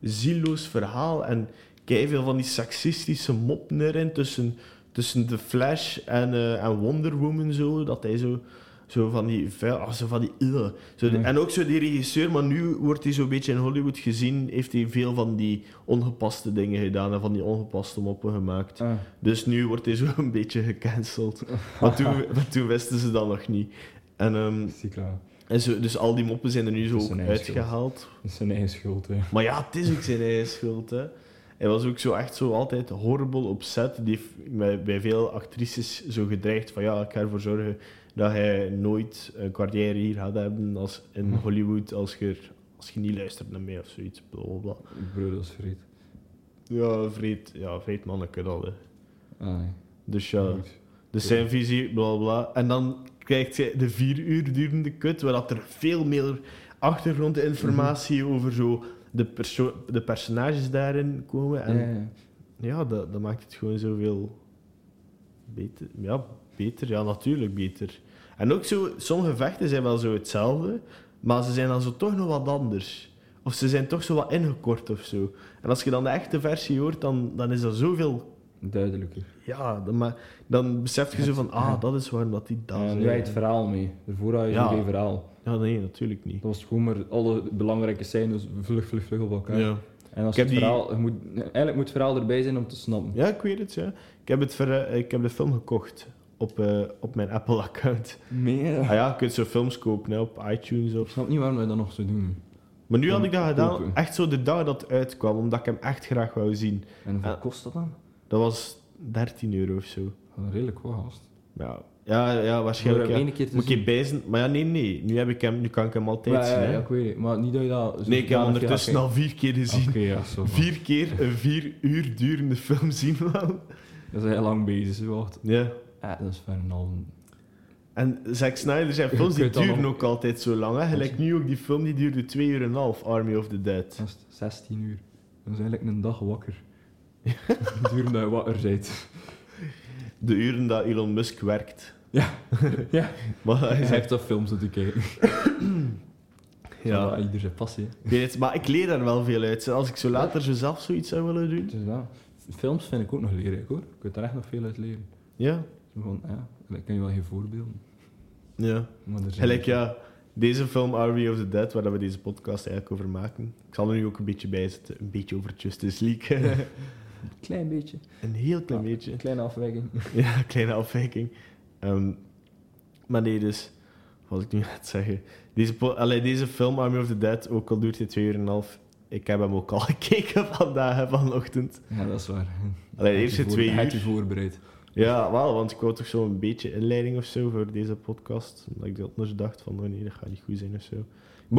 Speaker 2: zieloos verhaal. En veel van die seksistische moppen erin tussen, tussen The Flash en, eh, en Wonder Woman. Zo, dat hij zo, zo van die... Vuil, ah, zo van die... ugh. zo die-
Speaker 1: Ja.
Speaker 2: En ook zo die regisseur. Maar nu wordt hij zo'n beetje in Hollywood gezien. Heeft hij veel van die ongepaste dingen gedaan. En van die ongepaste moppen gemaakt.
Speaker 1: Ah.
Speaker 2: Dus nu wordt hij zo een beetje gecanceld. Maar toen, maar toen wisten ze dat nog niet. En, ehm,
Speaker 1: Is die klaar?
Speaker 2: en zo, dus al die moppen zijn er nu zo
Speaker 1: Dat is
Speaker 2: ook
Speaker 1: zijn eigen schuld.
Speaker 2: uitgehaald.
Speaker 1: Dat is zijn eigen schuld, hè.
Speaker 2: Maar ja, het is ook zijn eigen schuld, hè. Hij was ook zo echt zo altijd horrible op set. Die heeft met- bij veel actrices zo gedreigd van ja, ik ga ervoor zorgen dat hij nooit een carrière hier gaat hebben als in
Speaker 1: Hm.
Speaker 2: Hollywood als je, er- als je niet luistert naar mij of zoiets. Bla, bla, bla.
Speaker 1: Ik bedoel, dat is vreed.
Speaker 2: Ja, vreed, ja, vreed manneke dat. hè.
Speaker 1: Ah, nee.
Speaker 2: Dus ja.
Speaker 1: Goed.
Speaker 2: Dus zijn visie, bla bla. En dan krijgt je de vier uur durende kut, waar dat er veel meer achtergrondinformatie over zo de, perso- de personages daarin komen. En
Speaker 1: Ja, ja.
Speaker 2: ja, dat, dat maakt het gewoon zoveel beter. Ja, beter. Ja, natuurlijk beter. En ook zo, sommige vechten zijn wel zo hetzelfde, maar ze zijn dan zo toch nog wat anders. Of ze zijn toch zo wat ingekort of zo. En als je dan de echte versie hoort, dan, dan is dat zoveel...
Speaker 1: Duidelijker.
Speaker 2: Ja, dan, maar, dan besef je zo van, ah, dat is waarom dat die daar
Speaker 1: En
Speaker 2: zijn.
Speaker 1: nu had je het verhaal mee. Daarvoor had je
Speaker 2: Ja.
Speaker 1: geen verhaal.
Speaker 2: Ja, nee, natuurlijk niet.
Speaker 1: Dat was gewoon maar alle belangrijke scènes vlug, vlug, vlug op elkaar.
Speaker 2: Ja.
Speaker 1: En als het
Speaker 2: Ik heb die-
Speaker 1: verhaal, je moet, eigenlijk moet het verhaal erbij zijn om te snappen.
Speaker 2: ja, ik weet het, ja. Ik heb, het ver, eh, ik heb de film gekocht op, eh, op mijn Apple-account.
Speaker 1: Meer.
Speaker 2: Ah ja, je kunt zo films kopen hè, op iTunes of
Speaker 1: Ik snap niet waarom we dat nog zo doen.
Speaker 2: Maar nu had ik dat
Speaker 1: Om
Speaker 2: gedaan,
Speaker 1: kopen.
Speaker 2: echt zo de dag dat het uitkwam, omdat ik hem echt graag wou zien.
Speaker 1: En hoeveel
Speaker 2: Ja.
Speaker 1: kost dat dan?
Speaker 2: Dat was 13 euro of zo.
Speaker 1: Dat is redelijk wat gast.
Speaker 2: Ja, ja, ja
Speaker 1: Om
Speaker 2: waarschijnlijk.
Speaker 1: er
Speaker 2: Ja.
Speaker 1: één keer te
Speaker 2: Moet ik
Speaker 1: zien.
Speaker 2: je bijzen? Maar ja, nee, nee. Nu, heb ik hem, nu kan ik hem altijd
Speaker 1: Maar,
Speaker 2: zien.
Speaker 1: ja,
Speaker 2: Hè?
Speaker 1: ja, ik weet het. Maar niet dat je dat... zo
Speaker 2: nee, ik heb hem
Speaker 1: gedaan hebt, ja,
Speaker 2: ondertussen
Speaker 1: oké.
Speaker 2: al vier keer gezien.
Speaker 1: Oké, ja, zo.
Speaker 2: Vier keer een vier uur durende film zien wel.
Speaker 1: Dat is heel lang bezig, ze wacht.
Speaker 2: Ja.
Speaker 1: Ja, dat is ver en al.
Speaker 2: En Zack Snyder zijn films die
Speaker 1: kunt dan
Speaker 2: duren
Speaker 1: nog-
Speaker 2: ook altijd zo lang. Hè. Gelijk nu ook die film die duurde twee uur en een half, Army of the Dead.
Speaker 1: Dat is 16 uur. Dat is eigenlijk een dag wakker. Duur dat je wakker bent.
Speaker 2: De uren dat Elon Musk werkt.
Speaker 1: Ja. Ja.
Speaker 2: Maar hij
Speaker 1: Hij
Speaker 2: zegt,
Speaker 1: heeft dat films om te kijken.
Speaker 2: ja.
Speaker 1: Zodat Ieder zijn passie. hè.
Speaker 2: Ik weet het, maar ik leer daar wel veel uit. Als ik zo later zo zelf zoiets zou willen doen.
Speaker 1: Dus ja, films vind ik ook nog leerrijk hoor. Je kunt daar echt nog veel uit leren.
Speaker 2: Ja.
Speaker 1: Zo van, ja, ik ken je wel geen voorbeelden.
Speaker 2: Ja.
Speaker 1: Maar er zijn
Speaker 2: Gelijk ja, deze film Army of the Dead, waar dat we deze podcast eigenlijk over maken. Ik zal er nu ook een beetje bij zitten. Een beetje over Justice League.
Speaker 1: een klein beetje.
Speaker 2: een heel klein
Speaker 1: Ja, Een
Speaker 2: beetje.
Speaker 1: Nou, kleine afwijking.
Speaker 2: Ja, kleine afwijking. Ehm, maar nee, dus... Wat was ik nu aan het zeggen? Deze, po- allee, deze film Army of the Dead, ook al duurt hij twee uur en een half... Ik heb hem ook al gekeken vandaag, hè, vanochtend.
Speaker 1: Ja, dat is waar.
Speaker 2: Allee, de eerste twee
Speaker 1: Hij heeft je
Speaker 2: uur.
Speaker 1: voorbereid.
Speaker 2: Ja, Dus, wel, want ik wou toch zo'n beetje inleiding of zo voor deze podcast. Omdat ik anders dacht van, oh nee, dat gaat niet goed zijn of zo. Ik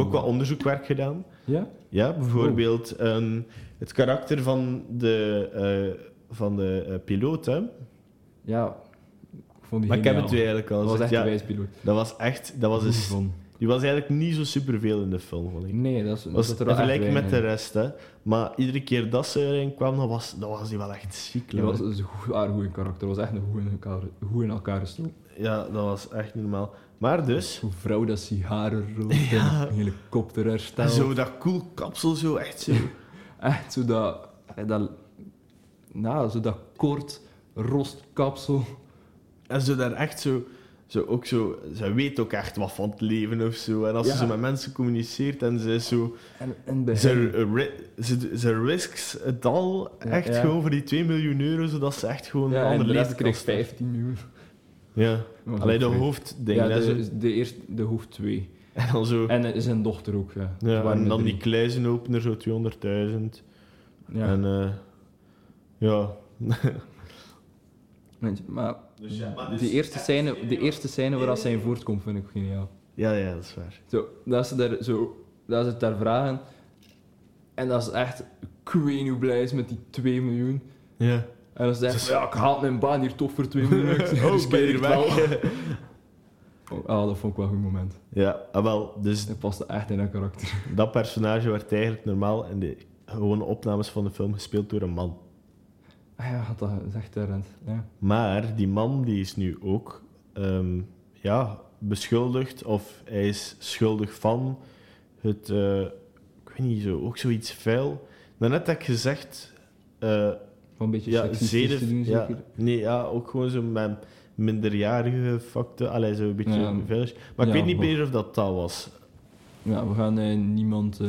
Speaker 2: heb ook wat onderzoekwerk gedaan.
Speaker 1: Ja?
Speaker 2: Ja, bijvoorbeeld ehm, het karakter van de, eh, van de eh, piloot, hè.
Speaker 1: Ja. Ik vond die
Speaker 2: Maar ik heb
Speaker 1: geniaal.
Speaker 2: het u eigenlijk al
Speaker 1: Dat was
Speaker 2: gezegd.
Speaker 1: echt
Speaker 2: Ja,
Speaker 1: een wijs piloot.
Speaker 2: dat was echt... Dat was
Speaker 1: Goed
Speaker 2: een,
Speaker 1: gevonden.
Speaker 2: die was eigenlijk niet zo superveel in de film, vond ik.
Speaker 1: Nee, dat is
Speaker 2: Was
Speaker 1: dat
Speaker 2: in
Speaker 1: er wel echt
Speaker 2: vergelijking met de
Speaker 1: weinig.
Speaker 2: rest, hè. Maar iedere keer dat ze erin kwam, dan was, dan was die wel echt ziek.
Speaker 1: Die
Speaker 2: hoor.
Speaker 1: was een goed, haar goede karakter. was echt een goed in elkaar, goed in elkaar gestoken.
Speaker 2: Ja, dat was echt niet normaal. Maar dus...
Speaker 1: Hoe vrouw dat sigaren rookt
Speaker 2: Ja.
Speaker 1: en een helikopter
Speaker 2: En
Speaker 1: herstelt.
Speaker 2: zo dat cool kapsel, zo echt zo...
Speaker 1: Echt zo dat, eh, dat, nou, zo dat kort roostkapsel.
Speaker 2: En ze daar echt zo, zo ook zo, ze weet ook echt wat van het leven of zo. En als
Speaker 1: Ja.
Speaker 2: ze zo met mensen communiceert en ze is zo,
Speaker 1: En, en bij
Speaker 2: ze, eh,
Speaker 1: hem-
Speaker 2: ri- ze, ze risks het al
Speaker 1: Ja,
Speaker 2: echt
Speaker 1: ja.
Speaker 2: gewoon voor die 2 miljoen euro, zodat ze echt gewoon een
Speaker 1: ja, en
Speaker 2: ander
Speaker 1: de
Speaker 2: leven
Speaker 1: laatste
Speaker 2: kan
Speaker 1: kreeg
Speaker 2: starten.
Speaker 1: 15 miljoen.
Speaker 2: Ja,
Speaker 1: Was
Speaker 2: alleen
Speaker 1: ook
Speaker 2: de
Speaker 1: vreemd.
Speaker 2: hoofdding.
Speaker 1: Ja,
Speaker 2: hè, zo.
Speaker 1: de, de eerste, de hoofd 2.
Speaker 2: En dan zo,
Speaker 1: En eh, zijn dochter ook. Ja, Dus
Speaker 2: ja,
Speaker 1: waren
Speaker 2: en
Speaker 1: er
Speaker 2: dan die
Speaker 1: drie.
Speaker 2: kluizenopener, zo 200.000.
Speaker 1: Ja.
Speaker 2: En eh, ja.
Speaker 1: Mensen, Maar
Speaker 2: Dus ja, maar dus
Speaker 1: die eerste
Speaker 2: echt
Speaker 1: scène,
Speaker 2: geniaal.
Speaker 1: de eerste scène waar dat zij in voortkomt, vind ik geniaal.
Speaker 2: ja, ja, dat is waar.
Speaker 1: Zo, dat ze daar zo, dat ze het daar vragen. En dat is echt, ik weet niet hoe blij is met die 2 miljoen.
Speaker 2: Ja.
Speaker 1: En dan zegt ze, ja, ik haal mijn baan hier toch voor 2 miljoen. Dus
Speaker 2: Oh, ik ben hier weg.
Speaker 1: Oh, ah, dat vond ik wel een goed moment.
Speaker 2: Ja, ah, wel, dus
Speaker 1: Dat paste echt in dat karakter.
Speaker 2: Dat personage werd eigenlijk normaal in de gewone opnames van de film gespeeld door een man.
Speaker 1: Ah ja, dat is echt terrend. Ja.
Speaker 2: Maar die man die is nu ook ehm, ja, beschuldigd of hij is schuldig van het, eh, ik weet niet, zo, ook zoiets vuil. Daarnet heb ik gezegd, eh,
Speaker 1: Van een beetje
Speaker 2: ja,
Speaker 1: seksistisch
Speaker 2: zeden-
Speaker 1: te doen,
Speaker 2: ja,
Speaker 1: zeker.
Speaker 2: nee, ja, ook gewoon zo met minderjarige facten. Allee, zo een beetje
Speaker 1: Ja.
Speaker 2: vuil. Maar ik
Speaker 1: Ja,
Speaker 2: weet niet
Speaker 1: maar-
Speaker 2: meer of dat dat was.
Speaker 1: Ja, we gaan eh, niemand... eh,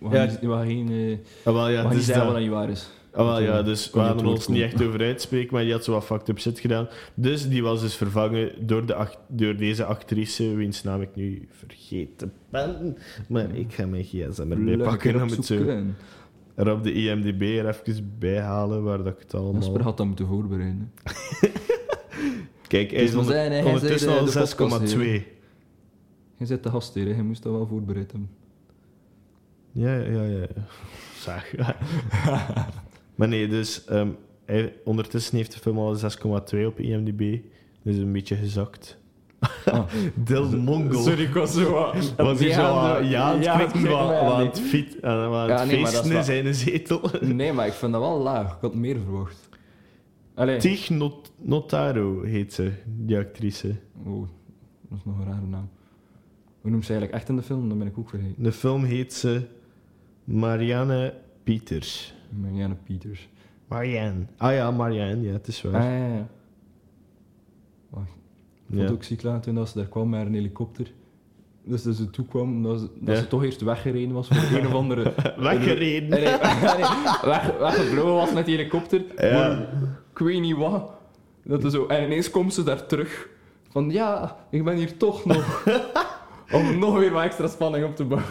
Speaker 1: we gaan,
Speaker 2: Ja,
Speaker 1: niet, we gaan geen, eh, we
Speaker 2: Ah, wel, ja,
Speaker 1: gaan
Speaker 2: het
Speaker 1: niet
Speaker 2: is
Speaker 1: zeggen
Speaker 2: dat.
Speaker 1: wat dat niet waar is.
Speaker 2: Ah, wel, ja,
Speaker 1: Want, eh,
Speaker 2: dus we
Speaker 1: kon je
Speaker 2: hadden
Speaker 1: het
Speaker 2: ons niet echt over uitspreken, maar die had zo wat fucked up shit gedaan. Dus die was dus vervangen door, de act- door deze actrice, wiens naam ik nu vergeten ben. Maar ik ga mijn gsm erbij
Speaker 1: lekker
Speaker 2: pakken om het zo...
Speaker 1: opzoeken.
Speaker 2: er op de E IMDb er even bijhalen waar dat ik het allemaal...
Speaker 1: Jasper had dat moeten voorbereiden. hè.
Speaker 2: Kijk, hij
Speaker 1: Dus
Speaker 2: is
Speaker 1: we
Speaker 2: onder-
Speaker 1: zijn- hij is
Speaker 2: ondertussen
Speaker 1: de-
Speaker 2: al
Speaker 1: de podcast
Speaker 2: 6,2.
Speaker 1: Jij zit de gast hier, hè. je moest dat wel voorbereid hebben.
Speaker 2: Ja, ja, ja. ja. Zeg. maar nee, dus ehm, hij, ondertussen heeft de film al een 6,2 op IMDb. Dus een beetje gezakt.
Speaker 1: Ah.
Speaker 2: Del Mongo.
Speaker 3: ik was zo wat...
Speaker 2: Was hier zo aan- ja, aan het knikken,
Speaker 1: knikken,
Speaker 2: wa-
Speaker 1: maar
Speaker 2: wa-
Speaker 1: ja,
Speaker 2: aan
Speaker 1: nee.
Speaker 2: het fiet- eh, aan- aan
Speaker 1: Ja,
Speaker 2: het
Speaker 1: nee, maar dat is
Speaker 2: feesten
Speaker 1: wel-
Speaker 2: in zijn zetel.
Speaker 1: Nee, maar ik vind dat wel laag. Ik had meer verwacht. Allee.
Speaker 2: Tig Not- Notaro heet ze, die actrice.
Speaker 1: Oh, dat is nog een rare naam. Hoe noemt ze eigenlijk echt in de film? Dan ben ik ook vergeten.
Speaker 2: De film heet ze Marianne Pieters.
Speaker 1: Marianne Peters.
Speaker 2: Marianne. Ah ja, Marianne, ja, het is
Speaker 1: Ah,
Speaker 2: waar.
Speaker 1: ja, ja, ja. Ik vond
Speaker 2: ja.
Speaker 1: het ook ziek laat toen dat ze daar kwam met een helikopter. Dus dat ze toe kwam, dat ze, dat
Speaker 2: Ja.
Speaker 1: ze toch eerst weggereden was voor een of andere...
Speaker 2: Weggereden.
Speaker 1: Nee, nee, weg, weggevlogen was met die helikopter.
Speaker 2: Ja.
Speaker 1: Maar ik weet niet wat. Dat is zo. En ineens komt ze daar terug. Van ja, ik ben hier toch nog. Om nog weer wat extra spanning op te bouwen.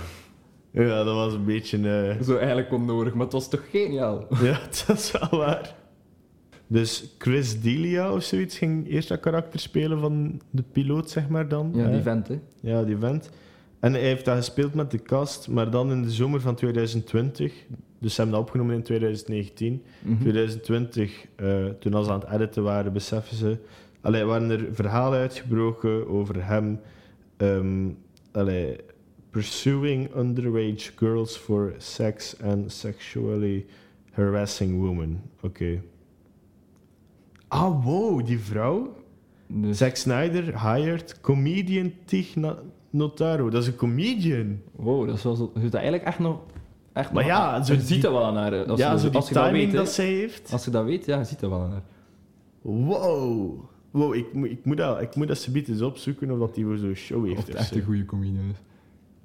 Speaker 2: Ja, dat was een beetje. eh,
Speaker 1: Zo eigenlijk onnodig, maar het was toch geniaal?
Speaker 2: ja, dat is wel waar. Dus Chris Delia of zoiets ging eerst dat karakter spelen van de piloot, zeg maar dan.
Speaker 1: Ja, die
Speaker 2: Eh,
Speaker 1: vent, hè.
Speaker 2: Ja, die vent. En hij heeft dat gespeeld met de cast, maar dan in de zomer van 2020. Dus ze hebben dat opgenomen in 2019.
Speaker 1: Mhm.
Speaker 2: 2020, eh, toen als ze aan het editen waren, beseffen ze... Allee, waren er verhalen uitgebroken over hem... ehm, allee, pursuing underage girls for sex and sexually harassing women. Oké. Ah, wow, die vrouw?
Speaker 1: Dus,
Speaker 2: Zack Snyder hired comedian Tig Na- Notaro. Dat is een comedian.
Speaker 1: wow, dat is wel zo. Je ziet dat eigenlijk echt nog. Echt
Speaker 2: Maar
Speaker 1: nog-
Speaker 2: ja, zo
Speaker 1: je
Speaker 2: die-
Speaker 1: ziet dat wel aan haar. hè. Als
Speaker 2: ja,
Speaker 1: je,
Speaker 2: zo die
Speaker 1: als je dat
Speaker 2: timing
Speaker 1: weet, hè.
Speaker 2: dat zij heeft.
Speaker 1: Als je dat weet, ja, je ziet dat wel aan haar.
Speaker 2: Wow. Wow, ik, moet- ik moet dat, ik moet dat subiet eens opzoeken of dat die voor zo'n show
Speaker 1: Of
Speaker 2: heeft.
Speaker 1: het
Speaker 2: of
Speaker 1: echt
Speaker 2: zo.
Speaker 1: een goede comedian is.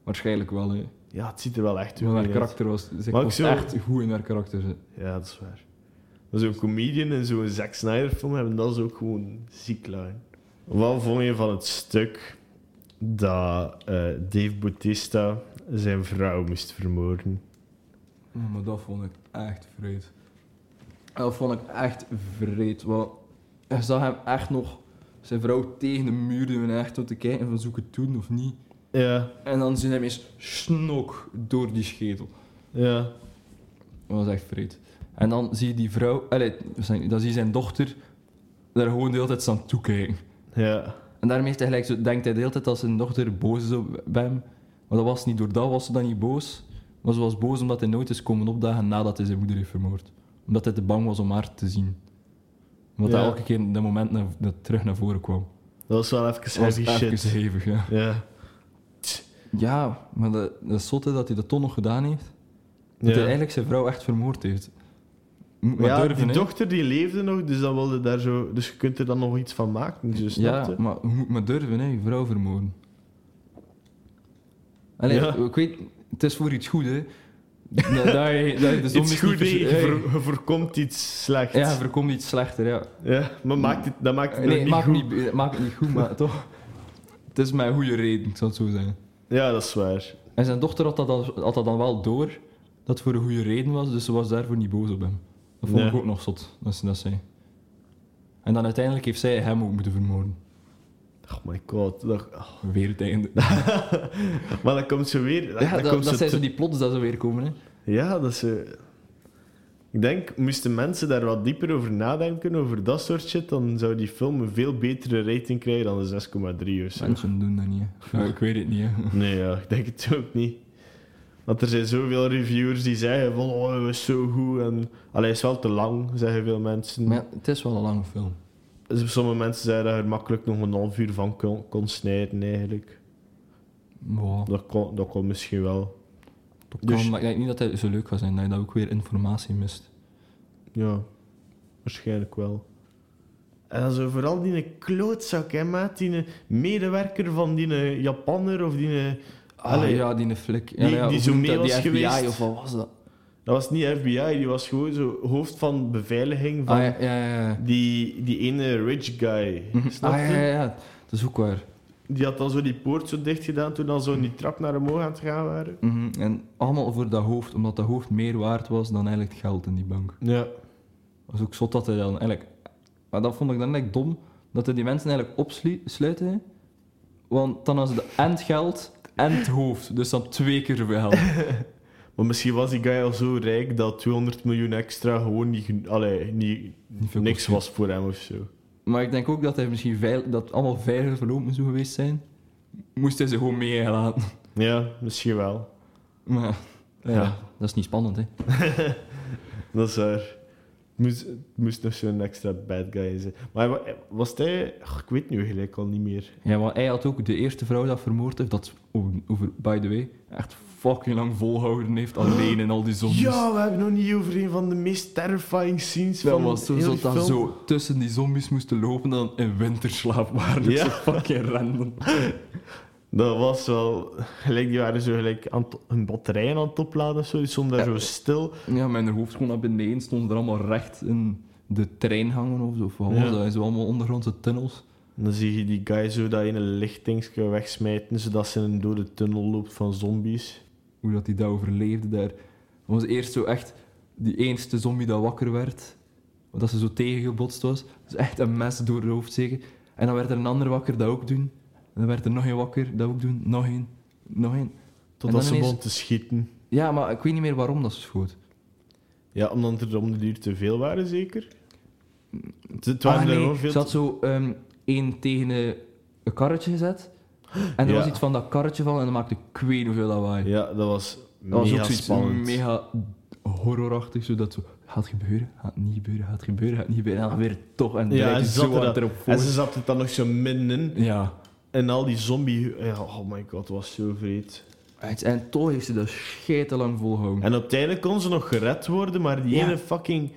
Speaker 1: Waarschijnlijk wel, hè.
Speaker 2: Ja, het ziet er wel echt
Speaker 1: Want
Speaker 2: goed
Speaker 1: haar
Speaker 2: uit.
Speaker 1: karakter was. Ze
Speaker 2: Maar ik
Speaker 1: was
Speaker 2: zou-
Speaker 1: echt goed in haar karakter. ze.
Speaker 2: Ja, dat is waar. Maar zo'n comedian en zo'n Zack Snyder film hebben dat is ook gewoon ziek lijn. Wat vond je van het stuk dat eh, Dave Bautista zijn vrouw moest vermoorden?
Speaker 1: Ja, Oh, maar dat vond ik echt vreed. Dat vond ik echt vreed. Want hij zag hem echt nog zijn vrouw tegen de muur doen en echt om te kijken van zoek het toen of niet.
Speaker 2: Ja,
Speaker 1: En dan zien hem eens snok door die schedel.
Speaker 2: ja.
Speaker 1: Dat was echt vreed. En dan zie je die vrouw, allee, zijn- dan zie je zijn dochter daar gewoon de hele tijd staan toekijken.
Speaker 2: Ja.
Speaker 1: En daarmee heeft hij gelijk zo, denkt hij de hele tijd dat zijn dochter boos is op bij hem. Maar dat was niet, door dat was ze dan niet boos. Maar ze was boos omdat hij nooit is komen opdagen nadat hij zijn moeder heeft vermoord. Omdat hij te bang was om haar te zien. Omdat
Speaker 2: Ja.
Speaker 1: hij elke keer dat moment naar, dat terug naar voren kwam.
Speaker 2: Dat was wel even
Speaker 1: Dat was
Speaker 2: heavy shit.
Speaker 1: even hevig, ja.
Speaker 2: Ja.
Speaker 1: Ja, maar dat, dat is zotte dat hij dat toch nog gedaan heeft. Dat hij
Speaker 2: ja.
Speaker 1: eigenlijk zijn vrouw echt vermoord heeft. Moet
Speaker 2: Maar
Speaker 1: maar
Speaker 2: ja,
Speaker 1: durven,
Speaker 2: die
Speaker 1: hè.
Speaker 2: dochter die leefde nog, dus, dan wilde daar zo, dus je kunt er dan nog iets van maken. Dus
Speaker 1: Ja, maar je moet maar durven, hè, je vrouw vermoorden. Allee,
Speaker 2: Ja.
Speaker 1: ik weet, het is voor iets goed, hè. Dat, dat je, dat je de
Speaker 2: Het is
Speaker 1: zombies
Speaker 2: goed, hè.
Speaker 1: niet
Speaker 2: je
Speaker 1: vers- hey.
Speaker 2: voor- je voorkomt iets slechts.
Speaker 1: Ja, voorkomt iets slechter, ja.
Speaker 2: Ja, maar maakt het, dat maakt het nog
Speaker 1: Nee,
Speaker 2: niet
Speaker 1: maakt
Speaker 2: goed.
Speaker 1: niet, eh, maakt het niet goed, maar toch... Het is mijn goede reden, ik zou het zo zeggen.
Speaker 2: Ja, dat is waar.
Speaker 1: En zijn dochter had dat dan, had dat dan wel door, dat het voor een goede reden was, dus ze was daarvoor niet boos op hem. Dat vond ik
Speaker 2: Ja.
Speaker 1: ook nog zot, dat ze dat zei. En dan uiteindelijk heeft zij hem ook moeten vermoorden.
Speaker 2: Oh my god. dat- oh.
Speaker 1: Weer het einde.
Speaker 2: Maar dan komt ze weer... dan-
Speaker 1: Ja,
Speaker 2: dan
Speaker 1: dat,
Speaker 2: komt
Speaker 1: dat
Speaker 2: ze
Speaker 1: zijn zo
Speaker 2: te-
Speaker 1: die plots dat ze weer komen, hè.
Speaker 2: Ja, dat ze... Ik denk, moesten mensen daar wat dieper over nadenken, over dat soort shit, dan zou die film een veel betere rating krijgen dan de 6,3 of zo.
Speaker 1: Mensen doen dat niet. hè. Ja, ik weet het niet. hè.
Speaker 2: Nee, ja, ik denk het ook niet. Want er zijn zoveel reviewers die zeggen van oh, hij was zo goed en... Allee, hij is wel te lang, zeggen veel mensen.
Speaker 1: Maar ja, het is wel een lange film.
Speaker 2: Dus Sommige mensen zeiden dat je er makkelijk nog een half uur van kon, kon snijden eigenlijk.
Speaker 1: Wow.
Speaker 2: Dat kon, dat kon misschien wel.
Speaker 1: Dat
Speaker 2: Dus-
Speaker 1: kan, maar ik denk niet dat hij zo leuk gaat zijn, dat je dat ook weer informatie mist.
Speaker 2: Ja, waarschijnlijk wel. En dan zo vooral die klootzak, hè, maat. Die medewerker van die Japanner of die...
Speaker 1: Ah,
Speaker 2: Allee.
Speaker 1: ja, die flik. Ja,
Speaker 2: Die-
Speaker 1: ja,
Speaker 2: die
Speaker 1: hoe
Speaker 2: zo
Speaker 1: noemt
Speaker 2: mee
Speaker 1: dat?
Speaker 2: was
Speaker 1: die
Speaker 2: geweest.
Speaker 1: FBI of wat was dat?
Speaker 2: Dat was niet FBI, die was gewoon zo hoofd van beveiliging van
Speaker 1: Ah, ja, ja, ja. ja.
Speaker 2: die, die ene rich guy.
Speaker 1: Mhm.
Speaker 2: Snap
Speaker 1: Ah,
Speaker 2: je?
Speaker 1: ja, ja, ja. Dat is ook waar.
Speaker 2: die had dan zo die poort zo dicht gedaan toen dan zo
Speaker 1: Hm.
Speaker 2: in die trap naar omhoog aan het gaan waren.
Speaker 1: Mhm, En allemaal voor dat hoofd, omdat dat hoofd meer waard was dan eigenlijk het geld in die bank.
Speaker 2: Ja.
Speaker 1: Dat is ook zot dat hij dan eigenlijk... Maar dat vond ik dan eigenlijk dom, dat hij die mensen eigenlijk opsluiten. Want dan was het en het geld en het hoofd. Dus dan twee keer zoveel geld.
Speaker 2: Maar misschien was die guy al zo rijk dat 200 miljoen extra gewoon niet, gen- allee, niet,
Speaker 1: Niet veel
Speaker 2: niks
Speaker 1: kost.
Speaker 2: was voor hem of zo.
Speaker 1: Maar ik denk ook dat hij misschien veil- dat het allemaal veilige verlopen zou geweest zijn. Moest hij ze gewoon meegelaten.
Speaker 2: Ja, misschien wel.
Speaker 1: Maar ja,
Speaker 2: Ja.
Speaker 1: dat is niet spannend, hè.
Speaker 2: Dat is waar. Moest, moest nog zo'n extra bad guy zijn. Maar wa- was hij... Ach, ik weet nu gelijk al niet meer.
Speaker 1: Ja, want hij had ook de eerste vrouw dat vermoord heeft, dat, over, over- by the way, echt fucking lang volhouden heeft, alleen in al die zombies.
Speaker 2: Ja, we hebben nog niet over een van de meest terrifying scenes
Speaker 1: dat
Speaker 2: van
Speaker 1: was zo
Speaker 2: heel
Speaker 1: zo
Speaker 2: die
Speaker 1: dat
Speaker 2: film.
Speaker 1: zo tussen die zombies moesten lopen dan in winterslaap waren. Dus
Speaker 2: Ja.
Speaker 1: zo fucking random.
Speaker 2: Dat was wel... Gelijk, die waren zo gelijk aan het- hun batterijen aan het opladen of zo. Die stonden daar
Speaker 1: Ja.
Speaker 2: zo stil.
Speaker 1: Ja, mijn hoofd gewoon naar beneden, stonden er allemaal recht in de trein hangen of zo. Of wat
Speaker 2: Ja.
Speaker 1: was dat? In Zo allemaal ondergrondse tunnels.
Speaker 2: En dan zie je die guy zo dat ene lichtingske wegsmijten, zodat ze in een dode tunnel loopt van zombies.
Speaker 1: hoe dat hij dat overleefde daar. Dat was eerst zo echt die eerste zombie dat wakker werd, omdat ze zo tegengebotst was. Dus echt een mes door haar hoofd zeker. En dan werd er een ander wakker dat ook doen. En dan werd er nog een wakker dat ook doen. Nog één, nog één.
Speaker 2: Totdat
Speaker 1: dan
Speaker 2: ze
Speaker 1: ineens-
Speaker 2: begon te schieten.
Speaker 1: Ja, maar ik weet niet meer waarom dat ze schoot.
Speaker 2: Ja, omdat er om de duur te veel waren, zeker? Het, het
Speaker 1: Ah,
Speaker 2: waren er
Speaker 1: nee,
Speaker 2: gewoon veel
Speaker 1: Ze had zo ehm één tegen eh, een karretje gezet. En er
Speaker 2: Ja.
Speaker 1: was iets van dat karretje van en dat maakte ik weet hoeveel lawaai.
Speaker 2: te- Ja, dat was
Speaker 1: Dat was
Speaker 2: mega
Speaker 1: ook zoiets
Speaker 2: spannend.
Speaker 1: mega horrorachtig, zodat zo, gaat het gebeuren, gaat het niet gebeuren, gaat het gebeuren, gaat het niet gebeuren. En dan weer toch, en
Speaker 2: Ja,
Speaker 1: draait je
Speaker 2: ze zat
Speaker 1: zo
Speaker 2: er
Speaker 1: hard
Speaker 2: dan-
Speaker 1: erop
Speaker 2: En
Speaker 1: voor.
Speaker 2: ze zat het dan nog zo middenin.
Speaker 1: Ja.
Speaker 2: En al die zombie... Ja, oh my god, het was zo vreed.
Speaker 1: En, en toch heeft ze dat scheitelang volgehouden.
Speaker 2: En uiteindelijk kon ze nog gered worden, maar die
Speaker 1: Ja.
Speaker 2: ene fucking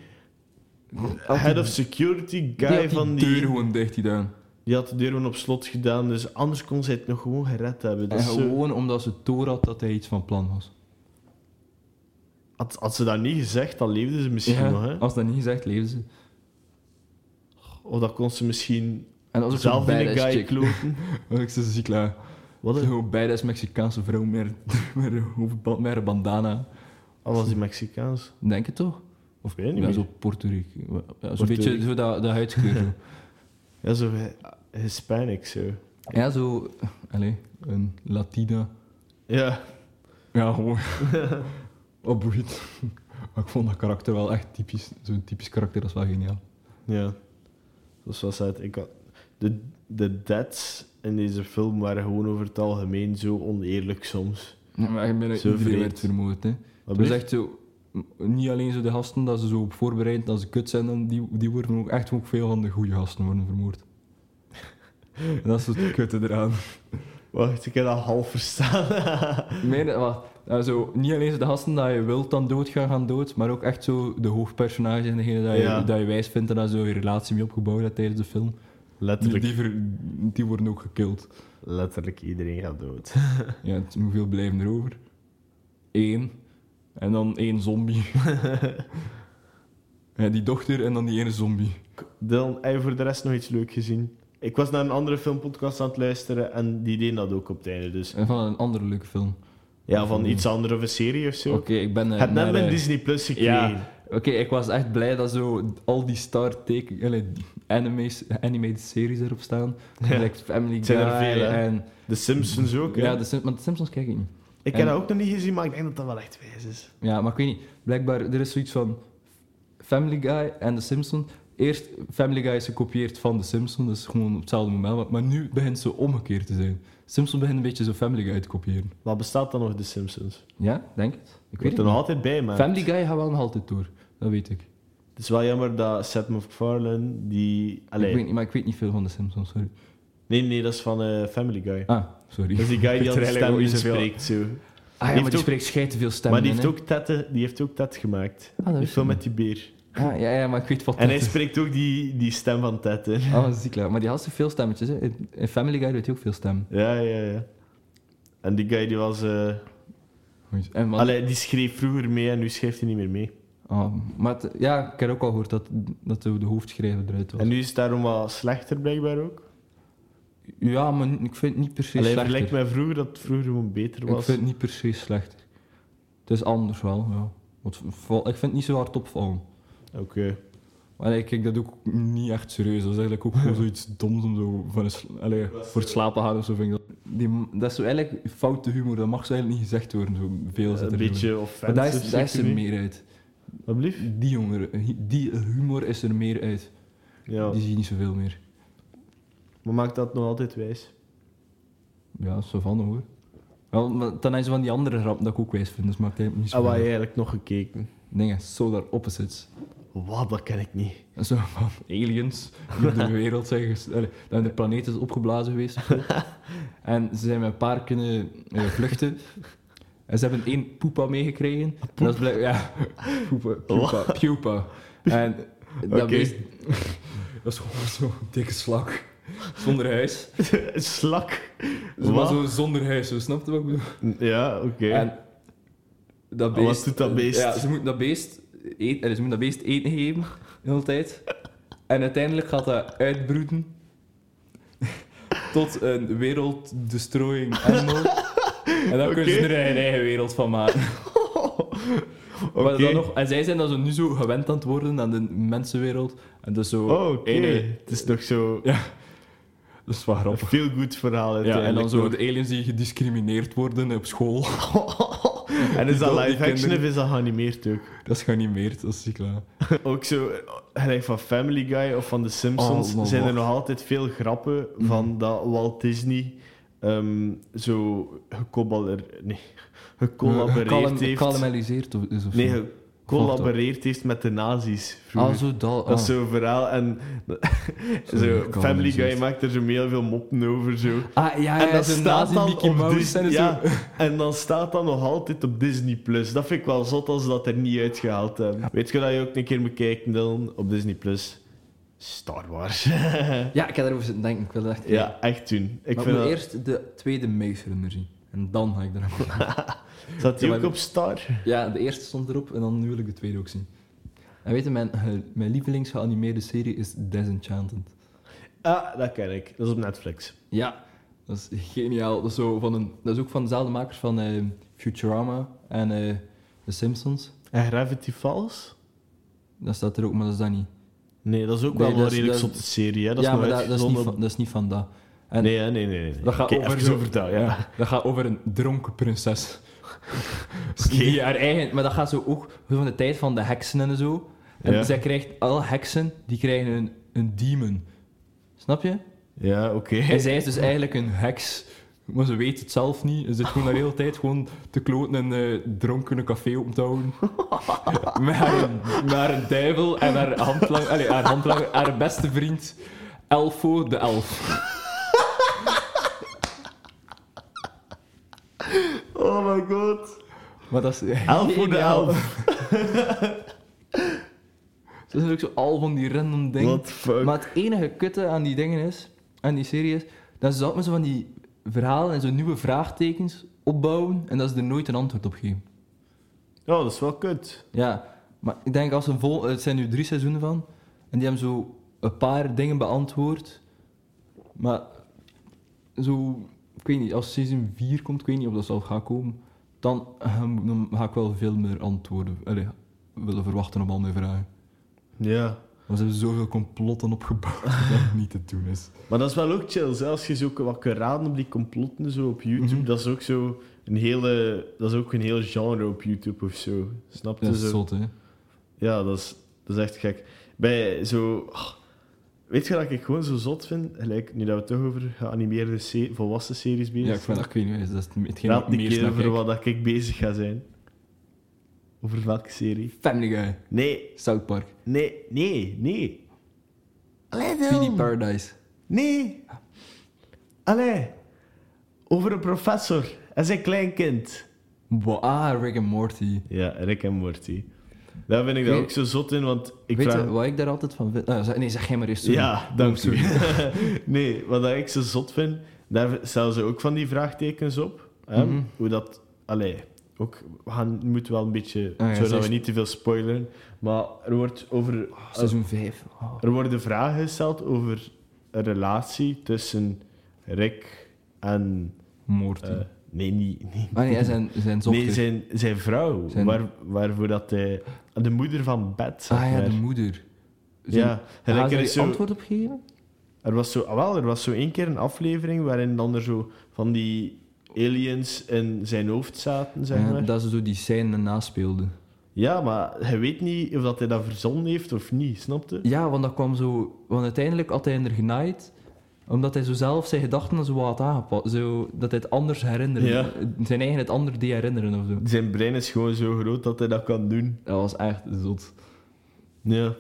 Speaker 1: Had
Speaker 2: head
Speaker 1: die-
Speaker 2: of security
Speaker 1: die
Speaker 2: guy
Speaker 1: had die
Speaker 2: van
Speaker 1: deur
Speaker 2: die...
Speaker 1: gewoon dicht gedaan.
Speaker 2: Die had de deur gewoon op slot gedaan, dus anders kon zij het nog gewoon gered hebben.
Speaker 1: En
Speaker 2: Dus zo,
Speaker 1: gewoon omdat ze door had dat hij iets van plan was.
Speaker 2: had, had ze dat niet gezegd, dan leefde ze misschien nog. Hè?
Speaker 1: als dat niet gezegd, leefde ze.
Speaker 2: Of dat kon ze misschien
Speaker 1: En als ik zo'n
Speaker 2: zelf in een
Speaker 1: badass
Speaker 2: guy
Speaker 1: chick.
Speaker 2: kloten.
Speaker 1: Als ik ze zie klaar.
Speaker 2: Wat een
Speaker 1: Zo'n badass Mexicaanse vrouw met, met, een hoofdband- met een bandana.
Speaker 2: Al was die Mexicaans.
Speaker 1: Denk het toch? Of
Speaker 2: weet het niet
Speaker 1: ja,
Speaker 2: meer.
Speaker 1: zo Puerto Rico. Ja,
Speaker 2: Puerto
Speaker 1: Zo'n beetje
Speaker 2: Rico.
Speaker 1: zo dat, dat huidskleur. zo.
Speaker 2: Ja, zo hi- Hispanic zo.
Speaker 1: Ja, zo... Allee, een Latina.
Speaker 2: Ja.
Speaker 1: Ja, gewoon... Wat boeit. Maar ik vond dat karakter wel echt typisch. Zo'n typisch karakter, dat is wel geniaal.
Speaker 2: Ja. Dus zoals het. Ik had, de, de deaths in deze film waren gewoon over het algemeen zo oneerlijk soms.
Speaker 1: Ja, maar ik ben
Speaker 2: Zo
Speaker 1: iedereen
Speaker 2: vreed.
Speaker 1: werd vermoord, hè.
Speaker 2: Wat
Speaker 1: Het was
Speaker 2: bleef?
Speaker 1: echt zo... m- Niet alleen zo de gasten dat ze zo op voorbereid dat ze kut zijn, dan die, die worden ook echt ook veel van de goede gasten worden vermoord. En dat is het kutte eraan.
Speaker 2: Wacht, ik heb dat half verstaan.
Speaker 1: Meer, wacht, nou, zo, niet alleen zo de gasten dat je wilt dan doodgaan, gaan dood, maar ook echt zo de hoofdpersonage en degene dat je,
Speaker 2: Ja.
Speaker 1: dat je wijs vindt en daar zo je relatie mee opgebouwd hebt tijdens de film. Die,
Speaker 2: letterlijk,
Speaker 1: die, ver- die worden ook gekild.
Speaker 2: letterlijk iedereen gaat dood.
Speaker 1: Ja, het- hoeveel blijven er over? Eén. En dan één zombie. ja, die dochter en dan die ene zombie.
Speaker 2: Dan heb je voor de rest nog iets leuk gezien. Ik was naar een andere filmpodcast aan het luisteren en die deden dat ook op het einde. Dus
Speaker 1: En van een andere leuke film.
Speaker 2: ja, van iets anders of een serie of zo.
Speaker 1: Oké, ik ben... eh,
Speaker 2: Het net
Speaker 1: naar,
Speaker 2: met
Speaker 1: eh,
Speaker 2: Disney Plus gekregen.
Speaker 1: Ja. Oké, ik was echt blij dat zo al die star teken, allee, animes, animated series erop staan.
Speaker 2: Ja.
Speaker 1: Like Family
Speaker 2: Het
Speaker 1: Guy
Speaker 2: zijn er veel, hè?
Speaker 1: en...
Speaker 2: De Simpsons ook, hè?
Speaker 1: Ja, de Sim- maar de Simpsons kijk ik niet.
Speaker 2: Ik heb
Speaker 1: En-
Speaker 2: dat ook nog niet gezien, maar ik denk dat dat wel echt wijs is.
Speaker 1: Ja, maar ik weet niet. Blijkbaar, er is zoiets van Family Guy en de Simpsons. Eerst, Family Guy is gekopieerd van de Simpsons, dus gewoon op hetzelfde moment. Maar, maar nu begint ze omgekeerd te zijn. Simpsons begint een beetje zo Family Guy te kopiëren.
Speaker 2: Maar bestaat dan nog de Simpsons?
Speaker 1: Ja, denk het. Ik weet het
Speaker 2: Wordt er nog
Speaker 1: niet.
Speaker 2: altijd bij, maar
Speaker 1: Family Guy gaat wel nog altijd door, dat weet ik.
Speaker 2: het is wel jammer dat Seth MacFarlane die...
Speaker 1: ik
Speaker 2: Allee,
Speaker 1: weet niet, maar ik weet niet veel van de Simpsons, sorry.
Speaker 2: nee, nee, dat is van eh, Family Guy.
Speaker 1: Ah, sorry.
Speaker 2: Dat is die guy die
Speaker 1: Ik
Speaker 2: aan de
Speaker 1: weet er eigenlijk ook
Speaker 2: stem
Speaker 1: niet zoveel-
Speaker 2: spreekt, zo.
Speaker 1: Ah ja,
Speaker 2: heeft
Speaker 1: maar die
Speaker 2: ook-
Speaker 1: spreekt scheid te veel stemmen
Speaker 2: Maar die
Speaker 1: in,
Speaker 2: heeft,
Speaker 1: hè.
Speaker 2: ook tet, die heeft ook Ted gemaakt.
Speaker 1: Ah, dat
Speaker 2: die
Speaker 1: wist
Speaker 2: film
Speaker 1: ik
Speaker 2: met die beer.
Speaker 1: Ah, ja, ja, maar ik weet wat
Speaker 2: En
Speaker 1: dat
Speaker 2: hij
Speaker 1: is.
Speaker 2: spreekt ook die, die stem van Ted, hè.
Speaker 1: Ah, dat is ziek, hè. Maar die had zo veel stemmetjes, hè. In- In Family Guy doet hij ook veel stemmen.
Speaker 2: Ja, ja, ja. En die guy die was... eh,
Speaker 1: Goed. En wat-
Speaker 2: Allee, die schreef vroeger mee en nu schrijft hij niet meer mee.
Speaker 1: Ah, maar het- ja, ik heb ook al gehoord dat, dat de de hoofdschrijver eruit was.
Speaker 2: En nu is het daarom wat slechter, blijkbaar ook.
Speaker 1: Ja, maar niet- ik vind het niet per se
Speaker 2: Alleen
Speaker 1: slechter.
Speaker 2: vergelijk met vroeger, dat het vroeger gewoon beter
Speaker 1: Ik
Speaker 2: was.
Speaker 1: vind het niet per se slechter. Het is anders wel, ja. Want val- ik vind het niet zo hard opvallen.
Speaker 2: Oké.
Speaker 1: Maar ik kijk dat ook niet echt serieus. Dat is eigenlijk ook gewoon zoiets doms om zo van een sla- allee, voor het slapen gaan of zo. Vind ik dat. Die, dat is zo eigenlijk foute humor. Dat mag zo eigenlijk niet gezegd worden. Zo veel zit
Speaker 2: Een
Speaker 1: er zo in.
Speaker 2: beetje
Speaker 1: Maar
Speaker 2: offensive.
Speaker 1: daar is, daar is er
Speaker 2: zeker niet.
Speaker 1: meer uit.
Speaker 2: Wat blieft?
Speaker 1: Die, jongeren, die humor is er meer uit.
Speaker 2: Ja.
Speaker 1: Die zie je niet zoveel meer.
Speaker 2: Maar maakt dat nog altijd wijs?
Speaker 1: Ja, zo van hoor. Wel, maar ten aanzien van die andere grap dat ik ook wijs vind, dus maakt eigenlijk niet
Speaker 2: En
Speaker 1: zoveel
Speaker 2: Ah, wat heb je
Speaker 1: uit.
Speaker 2: eigenlijk nog gekeken?
Speaker 1: Dingen, solar opposites.
Speaker 2: Wat, dat ken ik niet.
Speaker 1: Zo van aliens die op de wereld zijn ges- allee, dat de planeet is opgeblazen geweest. en ze zijn met een paar kunnen eh, vluchten. En ze hebben één poepa meegekregen. En Dat is blijk- ja, poepa, pupa, pupa. En dat
Speaker 2: Oké.
Speaker 1: beest... Dat is gewoon zo'n dikke slak. Zonder huis.
Speaker 2: Een slak.
Speaker 1: Maar
Speaker 2: Wat?
Speaker 1: zo zonder huis, zo, snap je wat ik bedoel?
Speaker 2: Ja, oké.
Speaker 1: En dat
Speaker 2: En
Speaker 1: beest...
Speaker 2: wat doet dat beest?
Speaker 1: Ja, ze moeten dat beest eten, eh, ze moeten dat beest eten geven, de hele tijd. En uiteindelijk gaat dat uitbroeden tot een werelddestrooiing animal. En dan kunnen ze
Speaker 2: Oké.
Speaker 1: er een eigen wereld van maken. Maar
Speaker 2: Oké.
Speaker 1: dan nog, en zij zijn dan zo nu zo gewend aan het worden aan de mensenwereld. En dat is zo...
Speaker 2: Oh, oké.
Speaker 1: ene-
Speaker 2: Het is nog zo...
Speaker 1: Ja. Dat is wel
Speaker 2: Een
Speaker 1: grappig.
Speaker 2: veel goed verhaal
Speaker 1: Ja, en dan
Speaker 2: uiteindelijk
Speaker 1: zo
Speaker 2: nog.
Speaker 1: de aliens die gediscrimineerd worden op school.
Speaker 2: En is dat
Speaker 1: dood, die
Speaker 2: live action of
Speaker 1: kinderen.
Speaker 2: is dat geanimeerd ook?
Speaker 1: Dat is gewoon niet meer, dat is ziek laat.
Speaker 2: Ook zo, eh, gelijk van Family Guy of van The Simpsons,
Speaker 1: Oh, maar Mm.
Speaker 2: zijn er
Speaker 1: wacht.
Speaker 2: nog altijd veel grappen van dat Walt Disney ehm, zo gecollaboreerd nee, gecollaboreerd heeft.
Speaker 1: Gekalmeliseerd of, is of zo.
Speaker 2: nee, gecollaboreerd heeft met de nazi's vroeger.
Speaker 1: Ah, zo dat.
Speaker 2: Dat
Speaker 1: Ah.
Speaker 2: is zo'n verhaal. En zo,
Speaker 1: gekalmeliseerd.
Speaker 2: Family Guy maakt er zo heel veel moppen over. Zo.
Speaker 1: Ah, ja, ja,
Speaker 2: en dat
Speaker 1: zo'n
Speaker 2: staat
Speaker 1: nazi
Speaker 2: dan
Speaker 1: Mickey
Speaker 2: op
Speaker 1: Mouse
Speaker 2: Disney,
Speaker 1: en zo.
Speaker 2: ja, en dan staat dat nog altijd op Disney Plus. Dat vind ik wel zot als ze dat er niet uitgehaald hebben. Weet je dat je ook een keer moet kijken Dylan, op Disney Plus? Star Wars.
Speaker 1: Ja, ik heb daarover zitten denken. Ik wil echt...
Speaker 2: ja, echt doen.
Speaker 1: maar
Speaker 2: Ik
Speaker 1: ik
Speaker 2: vind
Speaker 1: wil
Speaker 2: dat...
Speaker 1: eerst de tweede Maze Runner zien. En dan ga ik erop.
Speaker 2: Zat die
Speaker 1: Ja,
Speaker 2: ook
Speaker 1: maar-
Speaker 2: op Star?
Speaker 1: ja, de eerste stond erop en dan nu wil ik de tweede ook zien. En weet je, mijn, eh, mijn lievelingsgeanimeerde serie is Desenchanted.
Speaker 2: Ah, dat ken ik. Dat is op Netflix.
Speaker 1: Ja, dat is geniaal. Dat is, zo van een, dat is ook van dezelfde makers van eh, Futurama en eh, The Simpsons.
Speaker 2: En Gravity Falls?
Speaker 1: Dat staat er ook, maar dat is dat niet.
Speaker 2: Nee, dat is ook
Speaker 1: Nee,
Speaker 2: wel
Speaker 1: dat
Speaker 2: een
Speaker 1: is-
Speaker 2: redelijk
Speaker 1: dat is-
Speaker 2: zotte serie. Hè? Dat
Speaker 1: ja,
Speaker 2: is
Speaker 1: maar
Speaker 2: nog
Speaker 1: dat, dat is niet
Speaker 2: uitgezonden
Speaker 1: van,
Speaker 2: op-
Speaker 1: dat is niet van dat. En-
Speaker 2: Nee, hè, nee, nee, nee. nee.
Speaker 1: Dat gaat
Speaker 2: Oké,
Speaker 1: over
Speaker 2: even
Speaker 1: zo-
Speaker 2: over dat, ja.
Speaker 1: Dat gaat over een dronken prinses. Die haar eigen, maar dat gaat zo ook van de tijd van de heksen en zo. En
Speaker 2: Ja.
Speaker 1: zij krijgt, alle heksen, die krijgen een, een demon. Snap je?
Speaker 2: Ja, oké.
Speaker 1: En zij is dus eigenlijk een heks, maar ze weet het zelf niet. Ze zit gewoon de hele tijd gewoon te kloten en eh dronken een café op te houden. met, haar, met haar duivel en haar handlang, allee, haar, handlang, haar beste vriend Elfo de Elf.
Speaker 2: Oh my god.
Speaker 1: Maar dat is
Speaker 2: Elf de
Speaker 1: geniaal.
Speaker 2: elf.
Speaker 1: Dat is ook zo al van die random dingen.
Speaker 2: What the fuck?
Speaker 1: Maar het enige kutte aan die dingen is, aan die serie is, dat ze altijd zo van die verhalen en zo nieuwe vraagtekens opbouwen en dat ze er nooit een antwoord op geven.
Speaker 2: Ja, Oh, dat is wel kut.
Speaker 1: Ja, maar ik denk als een vol, het zijn nu drie seizoenen van, en die hebben zo een paar dingen beantwoord, maar zo, ik weet niet, als seizoen 4 komt, ik weet niet of dat zal gaan komen, dan, eh, dan ga ik wel veel meer antwoorden, allee, willen verwachten op al mijn vragen.
Speaker 2: Ja.
Speaker 1: Want ze hebben zoveel complotten opgebouwd dat het niet te doen is.
Speaker 2: Maar dat is wel ook chill. Zelfs als je zo wat kan raden op die complotten zo op YouTube,
Speaker 1: Mhm.
Speaker 2: dat is ook zo een hele, dat is ook een heel genre op YouTube of zo. Snap je?
Speaker 1: Dat is
Speaker 2: zo?
Speaker 1: zot, hè?
Speaker 2: Ja, dat is, dat is echt gek. Bij zo. ah, weet je wat ik gewoon zo zot vind? Gelijk, nu dat we het toch over geanimeerde se- volwassen series bezig
Speaker 1: Ja, ik vind dat, ik weet niet, dat is hetgeen dat
Speaker 2: Raad
Speaker 1: het
Speaker 2: een
Speaker 1: meest
Speaker 2: keer
Speaker 1: naar
Speaker 2: over
Speaker 1: kijk.
Speaker 2: wat dat ik bezig ga zijn. Over welke serie?
Speaker 1: Family Guy,
Speaker 2: Nee,
Speaker 1: South Park,
Speaker 2: nee, nee, nee. Allee,
Speaker 1: Feedy
Speaker 2: Dylan.
Speaker 1: Paradise.
Speaker 2: Nee. Allee. Over een professor en zijn kleinkind.
Speaker 1: Wow, ah, Rick and Morty.
Speaker 2: Ja, Rick en Morty. Daar vind ik daar
Speaker 1: Weet-
Speaker 2: ook zo zot in, want ik
Speaker 1: Weet
Speaker 2: vraag...
Speaker 1: je wat ik daar altijd van vind? Ah, zeg- nee, zeg jij maar eens. sorry.
Speaker 2: ja,
Speaker 1: Oh,
Speaker 2: dank u.
Speaker 1: sorry.
Speaker 2: nee, wat dat ik zo zot vind, daar stellen ze ook van die vraagtekens op. Hè?
Speaker 1: Mhm.
Speaker 2: Hoe dat... Allee. Ook, we gaan, moeten wel een beetje...
Speaker 1: ja,
Speaker 2: zodat
Speaker 1: zelfs-
Speaker 2: we niet te veel spoileren. Maar er wordt over...
Speaker 1: Oh, Seizoen Oh. 5.
Speaker 2: Er worden vragen gesteld over een relatie tussen Rick en...
Speaker 1: Moord.
Speaker 2: eh, nee, niet... niet
Speaker 1: ah nee, hij zijn, zijn dochter.
Speaker 2: nee, zijn, zijn vrouw.
Speaker 1: Zijn-
Speaker 2: Waar, waarvoor dat hij... De moeder van Beth, zeg
Speaker 1: ah ja,
Speaker 2: maar.
Speaker 1: de moeder.
Speaker 2: Ja, en
Speaker 1: Had
Speaker 2: ik
Speaker 1: je
Speaker 2: er, is
Speaker 1: daar
Speaker 2: zo,
Speaker 1: antwoord op gegeven?
Speaker 2: er was zo, ah, wel, er was zo één keer een aflevering waarin dan er zo van die aliens in zijn hoofd zaten, zeg
Speaker 1: Ja,
Speaker 2: maar.
Speaker 1: Dat ze zo die scène naspeelden.
Speaker 2: Ja, maar hij weet niet of dat hij dat verzonnen heeft of niet, snapte?
Speaker 1: Ja, want dat kwam zo... Want uiteindelijk had hij er genaaid, omdat hij zo zelf zijn gedachten zo wat had aangepast. Zo, dat hij het anders herinnerde.
Speaker 2: Ja.
Speaker 1: Zijn eigen het ander die herinneren of zo.
Speaker 2: Zijn brein is gewoon zo groot dat hij dat kan doen.
Speaker 1: Dat was echt zot.
Speaker 2: Ja.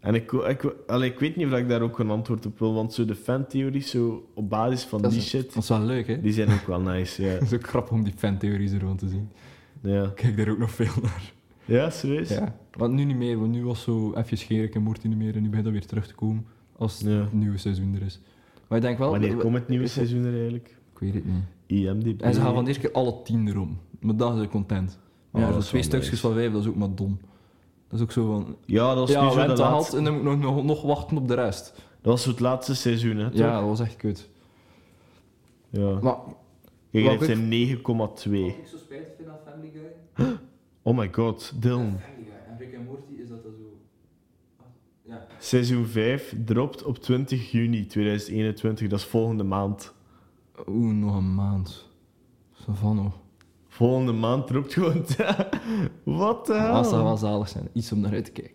Speaker 2: En ik, wou- ik, wou- allee, ik weet niet of ik daar ook een antwoord op wil, want zo de fantheories zo op basis van
Speaker 1: Dat
Speaker 2: die
Speaker 1: is-
Speaker 2: shit,
Speaker 1: Dat is wel leuk, hè?
Speaker 2: die zijn ook wel nice, ja.
Speaker 1: Zo grappig om die fantheorie's er rond te zien.
Speaker 2: Ja,
Speaker 1: Ik kijk daar ook nog veel naar.
Speaker 2: ja serieus?
Speaker 1: Ja. Want nu niet meer, want nu was zo even Scherik en Moortie niet meer en nu begint dat weer terug te komen als het
Speaker 2: Ja.
Speaker 1: nieuwe seizoen er is. Maar ik denk wel...
Speaker 2: Wanneer komt het nieuwe seizoen er eigenlijk?
Speaker 1: Ik weet het niet.
Speaker 2: IMDb.
Speaker 1: En ze gaan van de eerste keer alle tien erom. Maar dan zijn ze content. Maar
Speaker 2: Ja,
Speaker 1: ja,
Speaker 2: Oh, dat
Speaker 1: zo
Speaker 2: is
Speaker 1: twee
Speaker 2: wel
Speaker 1: stukjes
Speaker 2: nice.
Speaker 1: van vijf, dat is ook maar dom. Dat is ook zo van...
Speaker 2: Ja, dat was
Speaker 1: Ja,
Speaker 2: nu
Speaker 1: we
Speaker 2: zo de
Speaker 1: hebben het gehad
Speaker 2: laatste...
Speaker 1: en dan moet ik nog, nog, nog wachten op de rest.
Speaker 2: Dat was zo het laatste seizoen, hè, toch?
Speaker 1: Ja, dat was echt kut.
Speaker 2: Ja.
Speaker 1: Maar
Speaker 2: Je
Speaker 1: Wat
Speaker 2: krijgt
Speaker 1: ik-
Speaker 2: een 9,2.
Speaker 1: ik zo spijtig vind aan Family Guy...
Speaker 2: Oh my god, Dylan.
Speaker 1: En Rick en Morty is dat zo... Ja.
Speaker 2: Seizoen 5 dropt op 20 juni 2021, dat is volgende maand.
Speaker 1: Oeh, nog een maand. Savannah.
Speaker 2: Volgende maand dropt gewoon. Wat de
Speaker 1: Als dat wel
Speaker 2: hel?
Speaker 1: zalig zijn. Iets om naar uit te kijken.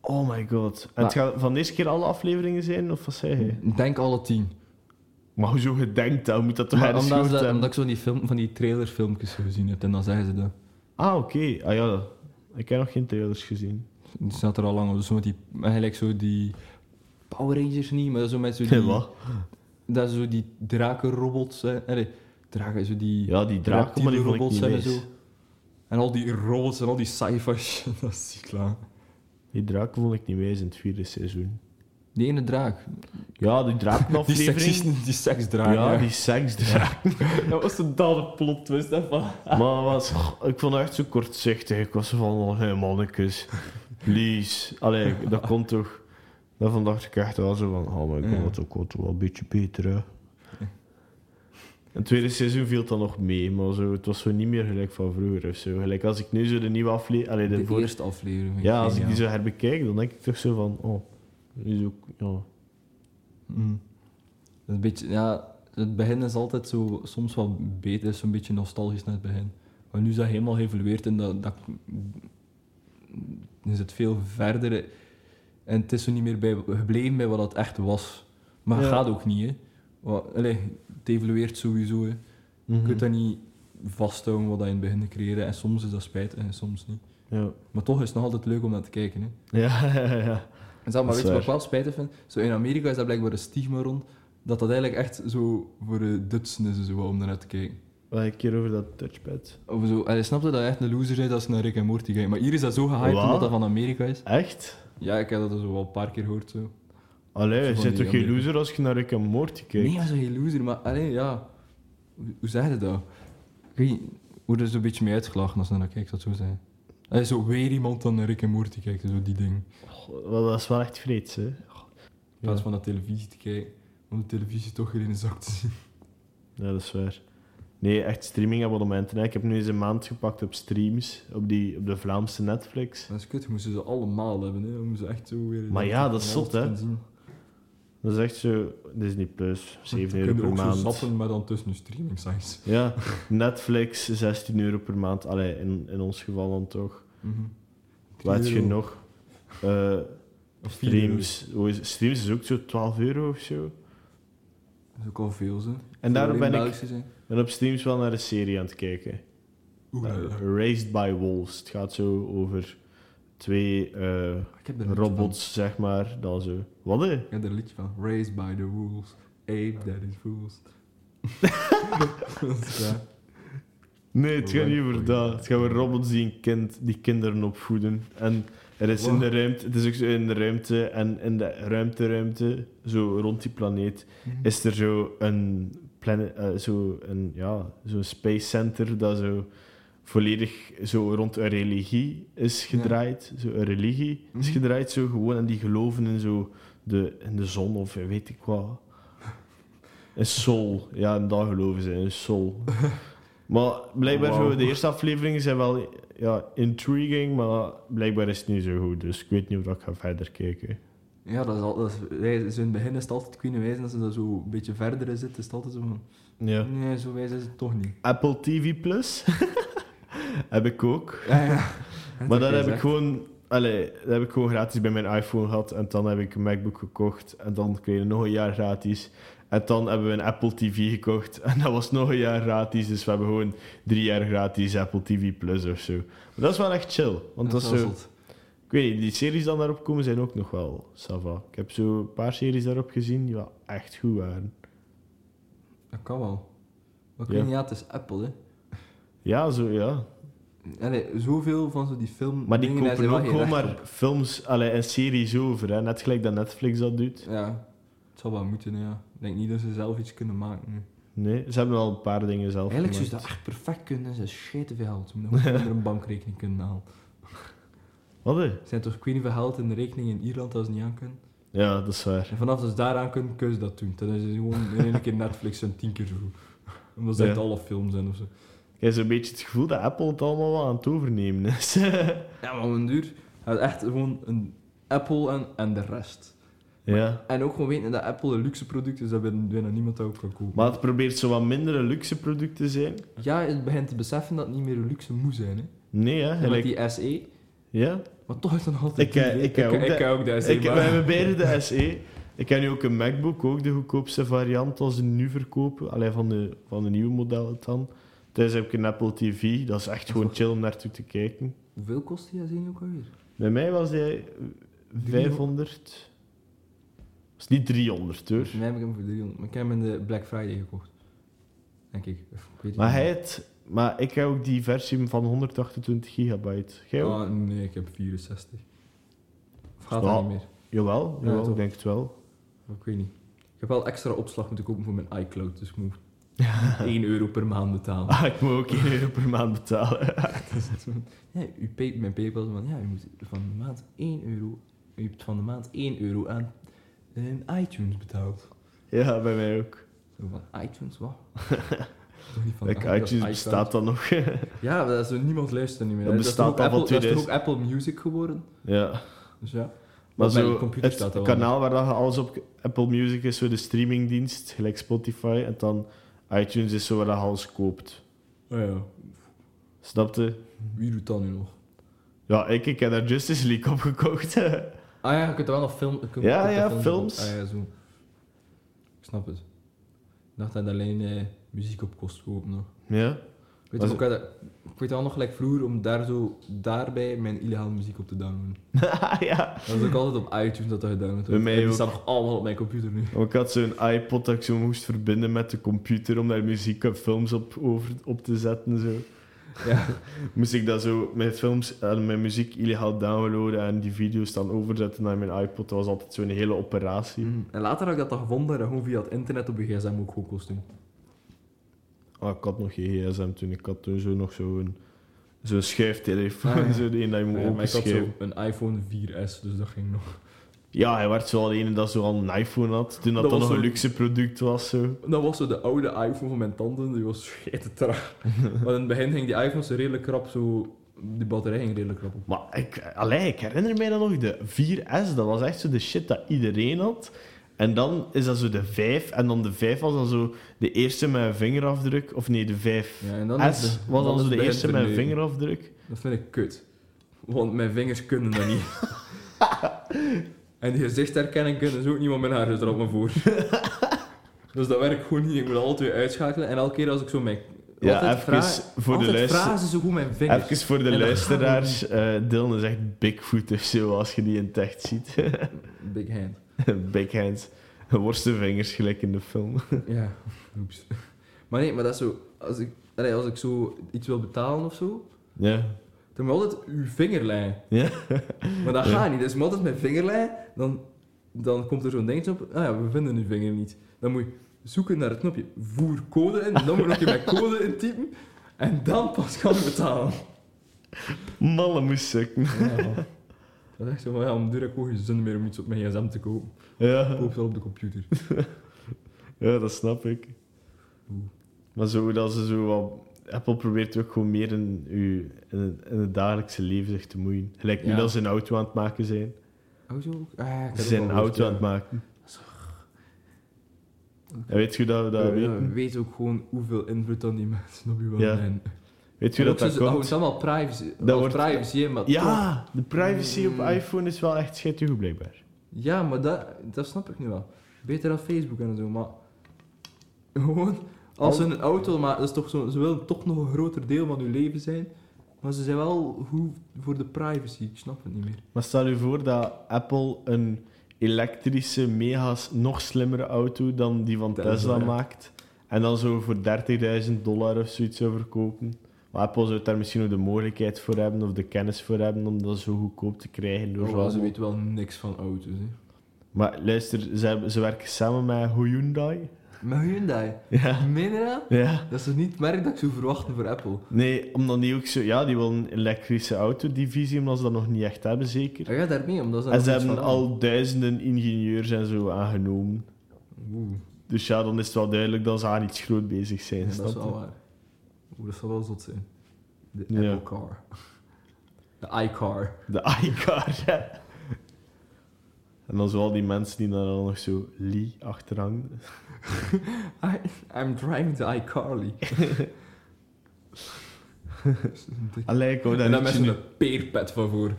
Speaker 2: Oh my god. En
Speaker 1: Maar-
Speaker 2: het gaat van deze keer alle afleveringen zijn, of wat zei je?
Speaker 1: Ik Denk alle tien.
Speaker 2: Maar hoezo gedenkt dat? Moet dat toch
Speaker 1: Maar
Speaker 2: ergens
Speaker 1: omdat, ze
Speaker 2: goed
Speaker 1: dat,
Speaker 2: hebben?
Speaker 1: omdat ik zo die film, van die trailerfilmpjes zo gezien heb en dan zeggen ze dat.
Speaker 2: Ah, oké. Ah ja, ik heb nog geen trailers gezien.
Speaker 1: Die staat er al lang op. Dus zo met die, eigenlijk zo die Power Rangers niet, maar zo met zo die,
Speaker 2: Wat?
Speaker 1: dat is zo die drakenrobots. hè. Nee, draken, zo die
Speaker 2: Ja, die draken, maar die vond ik
Speaker 1: reptielenrobots en
Speaker 2: niet nice.
Speaker 1: zo. En al die robots en al die sci-fi shit, dat is ziek klaar.
Speaker 2: Die draken vond ik niet wijs in het vierde seizoen.
Speaker 1: Die ene draak.
Speaker 2: Ja, die
Speaker 1: Die,
Speaker 2: drakenaflevering.
Speaker 1: seksisten, die seksdraak.
Speaker 2: ja, die seksdraak.
Speaker 1: Dat was de dale plot twist daarvan.
Speaker 2: Maar was, ik vond het echt zo kortzichtig. Ik was zo van, oh, hey, mannetjes, please. Allee, dat kon toch... Daarvan dacht ik echt wel zo van, oh my
Speaker 1: Ja.
Speaker 2: god, dat kon toch wel een beetje beter, hè. Het tweede seizoen viel dan nog mee, maar zo, het was zo niet meer gelijk van vroeger of zo. Gelijk als ik nu zo de nieuwe aflevering... Allee, de,
Speaker 1: De,
Speaker 2: voor-
Speaker 1: eerste aflevering.
Speaker 2: Ja, als ik
Speaker 1: Geniaal.
Speaker 2: die zo herbekijk, dan denk ik toch zo van, oh, die is ook... Ja.
Speaker 1: Mm. Dat is een beetje, ja, het begin is altijd zo, soms wat beter, is zo'n beetje nostalgisch naar het begin. Maar nu is dat helemaal geëvolueerd en dat, dat is het veel verder. En het is zo niet meer bij, gebleven bij wat het echt was. Maar het
Speaker 2: Ja.
Speaker 1: gaat ook niet, hè. Wa- allee, het evolueert sowieso, hè. Je
Speaker 2: Mm.
Speaker 1: kunt dat niet vasthouden wat dat in het begin creëerde. En soms is dat spijt en soms niet.
Speaker 2: Ja.
Speaker 1: Maar toch is het nog altijd leuk om naar te kijken, hè.
Speaker 2: Ja, ja, ja.
Speaker 1: En zeg, maar
Speaker 2: Dat
Speaker 1: weet
Speaker 2: is
Speaker 1: je wat
Speaker 2: waar.
Speaker 1: ik wel spijtig vind? Zo in Amerika is daar blijkbaar een stigma rond dat dat eigenlijk echt zo voor de Dutsen is zo, om naar te kijken.
Speaker 2: Wat een keer over dat touchpad.
Speaker 1: Of zo. En je snapt dat dat echt een loser is als ze naar Rick en Morty gaan. Maar hier is dat zo gehyped
Speaker 2: Wat?
Speaker 1: omdat dat van Amerika is.
Speaker 2: Echt?
Speaker 1: Ja, ik heb dat zo wel een paar keer gehoord. Zo.
Speaker 2: Allee,
Speaker 1: Zo
Speaker 2: je
Speaker 1: van
Speaker 2: zit
Speaker 1: die
Speaker 2: toch geen
Speaker 1: andere-
Speaker 2: loser als je naar Rick en Morty kijkt?
Speaker 1: Nee, dat is geen loser, maar alleen ja. Hoe, hoe zeg je dat? Ik weet niet, Worden ze een beetje mee uitgelachen als ze naar kijkt, dat zo zijn. Er is zo weer iemand dan naar Rick en Morty kijkt, zo die ding.
Speaker 2: Goh, wel, dat is wel echt vreeds, hè?
Speaker 1: In
Speaker 2: Ja.
Speaker 1: plaats van naar televisie te kijken, om de televisie toch weer in de zak te zien.
Speaker 2: Ja, dat is waar. Nee, echt streamingabonnementen. hè. Ik heb nu eens een maand gepakt op streams, op, die, op de Vlaamse Netflix.
Speaker 1: Dat is kut, we moesten ze allemaal hebben. Hè. We moesten echt zo weer...
Speaker 2: Maar ja, dat is
Speaker 1: van alles
Speaker 2: zot, hè.
Speaker 1: gaan zien.
Speaker 2: Dat is echt zo Disney Plus, 7
Speaker 1: We
Speaker 2: euro per
Speaker 1: kunnen ook
Speaker 2: maand.
Speaker 1: zo zappen, maar dan tussen de streaming sites.
Speaker 2: Ja, Netflix 16 euro per maand. Allee, in, in ons geval dan toch.
Speaker 1: Mhm.
Speaker 2: Wat heb je nog? Eh, streams. Hoe is- Streams is ook zo 12 euro of zo.
Speaker 1: Dat is ook al veel, ze.
Speaker 2: En daarom ben ik ben op streams wel naar een serie aan het kijken.
Speaker 1: Oeh,
Speaker 2: Eh, Raised by Wolves. Het gaat zo over twee eh,
Speaker 1: ik heb er een liedje
Speaker 2: robots, zeg maar. Dan zo. Wat hè?
Speaker 1: van. Ik heb er een liedje van. Raised by the wolves. Ape that is fools. dat is waar.
Speaker 2: Nee, het gaat niet
Speaker 1: Oei,
Speaker 2: over
Speaker 1: oei.
Speaker 2: dat. Het gaat over robots die, een kind, die kinderen opvoeden. En er is in
Speaker 1: Wow.
Speaker 2: de ruimte, het is ook zo in de ruimte en in de ruimte-ruimte, zo rond die planeet,
Speaker 1: Mhm.
Speaker 2: is er zo een, planet, eh, zo een ja, zo'n space center dat zo volledig zo rond een religie is
Speaker 1: Ja.
Speaker 2: gedraaid. Zo een religie is
Speaker 1: Mhm.
Speaker 2: gedraaid, zo gewoon. En die geloven in zo de, in de zon of weet ik wat. Een soul. Ja, en dat geloven ze, een soul. maar blijkbaar
Speaker 1: Wauw.
Speaker 2: voor de eerste afleveringen zijn wel ja, intriguing, maar blijkbaar is het niet zo goed. Dus ik weet niet of ik ga verder kijken.
Speaker 1: Ja, dat is al, dat is, wij- zo in het begin is het altijd kunnen wijzen dat ze dat zo een beetje verder in zitten. Is het altijd zo van,
Speaker 2: Ja.
Speaker 1: nee, zo wijs is het toch niet.
Speaker 2: Apple TV Plus heb ik ook.
Speaker 1: Ja, ja.
Speaker 2: Maar dat heb ik gewoon. Allee, dat heb ik gewoon gratis bij mijn iPhone gehad. En dan heb ik een MacBook gekocht. En dan kreeg ik nog een jaar gratis. En dan hebben we een Apple TV gekocht. En dat was nog een jaar gratis. Dus we hebben gewoon drie jaar gratis Apple TV Plus of zo. Maar dat is wel echt chill. Want dat is zo, ik weet niet, die series die daarop komen zijn ook nog wel sava. Ik heb zo een paar series daarop gezien die wel echt goed waren.
Speaker 1: Dat kan wel. Maar ik
Speaker 2: Ja.
Speaker 1: weet niet, ja, het is Apple, hè.
Speaker 2: Ja, zo ja.
Speaker 1: Allee, zoveel van zo die film
Speaker 2: Maar die
Speaker 1: dingen, daar
Speaker 2: kopen
Speaker 1: zijn
Speaker 2: ook
Speaker 1: wel
Speaker 2: gewoon
Speaker 1: geen
Speaker 2: maar
Speaker 1: recht
Speaker 2: films allee, en series over. Hè. Net gelijk dat Netflix dat doet.
Speaker 1: op. Ja, het zal wel moeten, ja. Ik denk niet dat ze zelf iets kunnen maken. nu.
Speaker 2: Nee, ze hebben al een paar dingen zelf
Speaker 1: Eigenlijk zou ze dat
Speaker 2: gemaakt.
Speaker 1: echt perfect kunnen. Ze hebben scheten veel geld. Ze moeten gewoon onder een bankrekening kunnen halen.
Speaker 2: Wat? hè?
Speaker 1: Er zijn toch queen veel geld in de rekening in Ierland dat ze niet aan kunnen.
Speaker 2: Ja, dat is waar.
Speaker 1: En vanaf dat ze daaraan kunnen, kunnen ze dat doen. Dan is het gewoon in één keer Netflix en tien keer zo goed. Omdat ze
Speaker 2: Ja.
Speaker 1: uit alle films zijn of zo.
Speaker 2: Ik heb zo'n beetje het gevoel dat Apple het allemaal wel aan het overnemen is.
Speaker 1: Ja, maar om een duur gaat echt gewoon een Apple en, en de rest.
Speaker 2: ja.
Speaker 1: En ook gewoon weten dat Apple een luxe product is, dat bijna bijna niemand dat ook kan kopen.
Speaker 2: Maar het probeert zo wat mindere luxe producten te zijn.
Speaker 1: Ja, het begint te beseffen dat het niet meer een luxe moet zijn. Hè.
Speaker 2: Nee, hè?
Speaker 1: Met
Speaker 2: gelijk-
Speaker 1: die SE.
Speaker 2: Ja?
Speaker 1: Maar toch is het nog altijd
Speaker 2: Ik, eh,
Speaker 1: die, hè.
Speaker 2: ik heb ook de-
Speaker 1: heb ook de SE.
Speaker 2: Ik, we
Speaker 1: maar-
Speaker 2: hebben beide de SE. Ik heb nu ook een MacBook, ook de goedkoopste variant als ze nu verkopen. Alleen van de, van de nieuwe modellen dan. Thuis heb ik een Apple TV. Dat is echt gewoon chill om naartoe te kijken.
Speaker 1: Hoeveel kost die SE ook alweer?
Speaker 2: Bij mij was hij 500. Dat is niet 300 hoor.
Speaker 1: Nee, heb ik hem voor 300. Maar ik heb hem in de Black Friday gekocht. Denk ik. Of, ik weet het
Speaker 2: Maar,
Speaker 1: niet.
Speaker 2: hij het, maar ik heb ook die versie van 128 gigabyte. Jij ook?
Speaker 1: Ah, nee, ik heb 64. Of gaat
Speaker 2: Ja.
Speaker 1: dat niet meer?
Speaker 2: Jawel,
Speaker 1: Ja,
Speaker 2: jawel
Speaker 1: toch.
Speaker 2: ik denk het wel.
Speaker 1: Ik weet niet. Ik heb wel extra opslag moeten kopen voor mijn iCloud, dus ik moet 1 euro per maand betalen.
Speaker 2: Ah, ik moet ook 1 euro per maand betalen.
Speaker 1: Ja, u pay, mijn PayPal is van, ja, u moet van de maand 1 euro, u hebt van de maand 1 euro aan eh, iTunes betaald.
Speaker 2: ja, bij mij ook.
Speaker 1: Zo van, iTunes, wat? Toch niet van
Speaker 2: Like,
Speaker 1: iCloud,
Speaker 2: iTunes bestaat dan nog.
Speaker 1: Ja, dat is, niemand luistert niet meer.
Speaker 2: Dat
Speaker 1: hè.
Speaker 2: bestaat
Speaker 1: is
Speaker 2: al
Speaker 1: toch
Speaker 2: van
Speaker 1: ook Apple, dat is toch ook Apple Music geworden?
Speaker 2: ja.
Speaker 1: Dus ja.
Speaker 2: Maar
Speaker 1: Op mijn
Speaker 2: zo,
Speaker 1: computer
Speaker 2: het
Speaker 1: staat dat wel.
Speaker 2: kanaal waar dat je alles op... Apple Music is zo de streamingdienst, gelijk Spotify. En dan iTunes is zo waar dat je alles koopt.
Speaker 1: Oh ja,
Speaker 2: Snap je?
Speaker 1: wie doet dat nu nog?
Speaker 2: Ja, ik, ik heb daar Justice League op gekocht.
Speaker 1: Ah ja, je kunt er wel nog film, je kunt-
Speaker 2: Ja,
Speaker 1: je kunt
Speaker 2: ja,
Speaker 1: er films.
Speaker 2: films.
Speaker 1: op- Ah ja, zo. Ik snap het. Ik dacht dat alleen eh, muziek op kost kopen nog.
Speaker 2: ja.
Speaker 1: Weet
Speaker 2: Was
Speaker 1: je, ook dat- ik weet wel nog gelijk vroeger om daar zo, daarbij mijn illegale muziek op te downloaden.
Speaker 2: ja.
Speaker 1: Dat was ook altijd op iTunes dat dat gedownload
Speaker 2: Bij
Speaker 1: wordt.
Speaker 2: mij
Speaker 1: En die
Speaker 2: ook.
Speaker 1: staat nog allemaal op mijn computer nu.
Speaker 2: Maar Ik had zo'n iPod dat ik zo moest verbinden met de computer om daar muziek en films op, over, op te zetten. Zo.
Speaker 1: Ja.
Speaker 2: Moest ik dat zo mijn films en mijn muziek illegaal downloaden en die video's dan overzetten naar mijn iPod. Dat was altijd zo'n hele operatie.
Speaker 1: Mm. En later had ik dat dan gevonden dat dat gewoon via het internet op je gsm ook gewoon kost doen.
Speaker 2: Ah, ik had nog geen gsm toen. Ik had toen zo nog zo'n zo'n schuiftelefoon,
Speaker 1: Ah, ja.
Speaker 2: zo die een dat je moet
Speaker 1: Ja, maar ik had
Speaker 2: openschuiven.
Speaker 1: zo een iPhone 4S, dus dat ging nog.
Speaker 2: Ja, hij werd zo al een dat zo al een iPhone had, toen dat,
Speaker 1: Dat
Speaker 2: dat
Speaker 1: was
Speaker 2: nog een
Speaker 1: zo-
Speaker 2: luxe product was. Zo.
Speaker 1: Dat was zo de oude iPhone van mijn tante, die was schitterend traag. Want in het begin ging die iPhone zo redelijk krap, zo... Die batterij ging redelijk krap op.
Speaker 2: Maar ik, allee, ik herinner mij dan nog de 4S. Dat was echt zo de shit dat iedereen had. En dan is dat zo de 5. En dan de 5 was dan zo de eerste met een vingerafdruk. Of nee, de 5.
Speaker 1: Ja, en dan is
Speaker 2: S
Speaker 1: de-
Speaker 2: was dan,
Speaker 1: dan is
Speaker 2: zo de
Speaker 1: het
Speaker 2: eerste met een
Speaker 1: begin verneuken.
Speaker 2: vingerafdruk.
Speaker 1: Dat vind ik kut. Want mijn vingers kunnen dat niet. en die gezichtsherkenning kunnen ze ook niet, want mijn haar is er op me voor. dus dat werkt gewoon niet. Ik moet dat altijd weer uitschakelen. En elke keer als ik zo mijn...
Speaker 2: Ja,
Speaker 1: altijd
Speaker 2: even voor, de
Speaker 1: altijd
Speaker 2: luister...
Speaker 1: vragen ze zo goed mijn vingers.
Speaker 2: even voor de
Speaker 1: En dan-
Speaker 2: luisteraars. eh Dylan is echt Bigfoot of zo, als je die in het echt ziet.
Speaker 1: Big hand.
Speaker 2: Big hands. Worstenvingers, gelijk in de film.
Speaker 1: Ja, oeps. Maar nee, maar dat is zo... Als ik, allee, als ik zo iets wil betalen of zo,
Speaker 2: Ja.
Speaker 1: dan moet ik altijd uw vingerlijn.
Speaker 2: Ja.
Speaker 1: Maar dat
Speaker 2: Ja.
Speaker 1: gaat niet. Dus ik moet altijd mijn vingerlijn, dan, dan komt er zo'n dingetje op. Ah ja, we vinden uw vinger niet. Dan moet je zoeken naar het knopje voer code in. Dan moet je mijn code intypen. En dan pas kan je betalen.
Speaker 2: Malle moest sukken.
Speaker 1: Ja. Dat is echt zo van, ja, om duur heb ik gewoon geen zin meer om iets op mijn gsm te kopen.
Speaker 2: Ja.
Speaker 1: Ik koop het al op de computer.
Speaker 2: Ja, dat snap ik. Maar zo dat ze zo wat... Apple probeert ook gewoon meer in, uw, in, het, in het dagelijkse leven zich te moeien. Gelijk nu
Speaker 3: Ja.
Speaker 2: dat ze een auto aan het maken zijn.
Speaker 3: Auto ook? Ah, ja, ik heb
Speaker 2: Ze
Speaker 3: het
Speaker 2: zijn
Speaker 3: al
Speaker 2: een
Speaker 3: gehoord,
Speaker 2: auto
Speaker 3: ja.
Speaker 2: aan het maken. En weet je hoe dat we dat
Speaker 3: Ja, ja,
Speaker 2: weten?
Speaker 3: Eh, weet ook gewoon hoeveel invloed dan die mensen op je
Speaker 2: Ja.
Speaker 3: wel hebben.
Speaker 2: Weet je hoe dat dat
Speaker 3: Oh, het
Speaker 2: komt?
Speaker 3: is allemaal privacy.
Speaker 2: Dat
Speaker 3: Dat
Speaker 2: wordt-
Speaker 3: wordt privacy, hè, maar toch.
Speaker 2: Ja, de privacy op
Speaker 3: Mm.
Speaker 2: iPhone is wel echt schitterend blijkbaar.
Speaker 3: Ja, maar dat, dat snap ik nu wel. Beter dan Facebook en zo, maar... Gewoon, als ze een auto maken, dat is toch zo, ze willen toch nog een groter deel van hun leven zijn. Maar ze zijn wel goed voor de privacy, ik snap het niet meer.
Speaker 2: Maar stel je voor dat Apple een elektrische, mega's nog slimmere auto dan die van Tesla,
Speaker 3: Tesla, ja.
Speaker 2: maakt. En dan zo voor 30.000 dollar of zoiets zou verkopen. Maar Apple zou daar misschien ook de mogelijkheid voor hebben of de kennis voor hebben om dat zo goedkoop te krijgen. Door
Speaker 3: Oh,
Speaker 2: zo'n-
Speaker 3: ze weten wel niks van auto's, hè.
Speaker 2: Maar luister, ze, hebben- ze werken samen met Hyundai.
Speaker 3: Maar Hyundai,
Speaker 2: Ja.
Speaker 3: meen je dat?
Speaker 2: ja.
Speaker 3: Dat is toch niet het merk dat ik zou verwachten voor Apple?
Speaker 2: Nee, omdat die ook zo... Ja, die willen een elektrische autodivisie, omdat ze dat nog niet echt hebben, zeker.
Speaker 3: Hij gaat daarmee, omdat ze daar
Speaker 2: En ze
Speaker 3: nog iets
Speaker 2: hebben
Speaker 3: van
Speaker 2: al duizenden ingenieurs en zo aangenomen.
Speaker 3: hebben. Oeh.
Speaker 2: Dus ja, dan is het wel duidelijk dat ze aan iets groot bezig zijn.
Speaker 3: Ja, dat
Speaker 2: snap
Speaker 3: is
Speaker 2: je?
Speaker 3: wel waar. Oeh, dat zal wel zot zijn. De
Speaker 2: Ja.
Speaker 3: Apple Car. De iCar.
Speaker 2: De iCar, ja. En dan zoal die mensen die daar dan nog zo Lee achterhangen.
Speaker 3: I, I'm driving the iCarly.
Speaker 2: Allee, ik hou daar
Speaker 3: en dan
Speaker 2: niet
Speaker 3: met
Speaker 2: zo-
Speaker 3: zo'n peerpet van voor.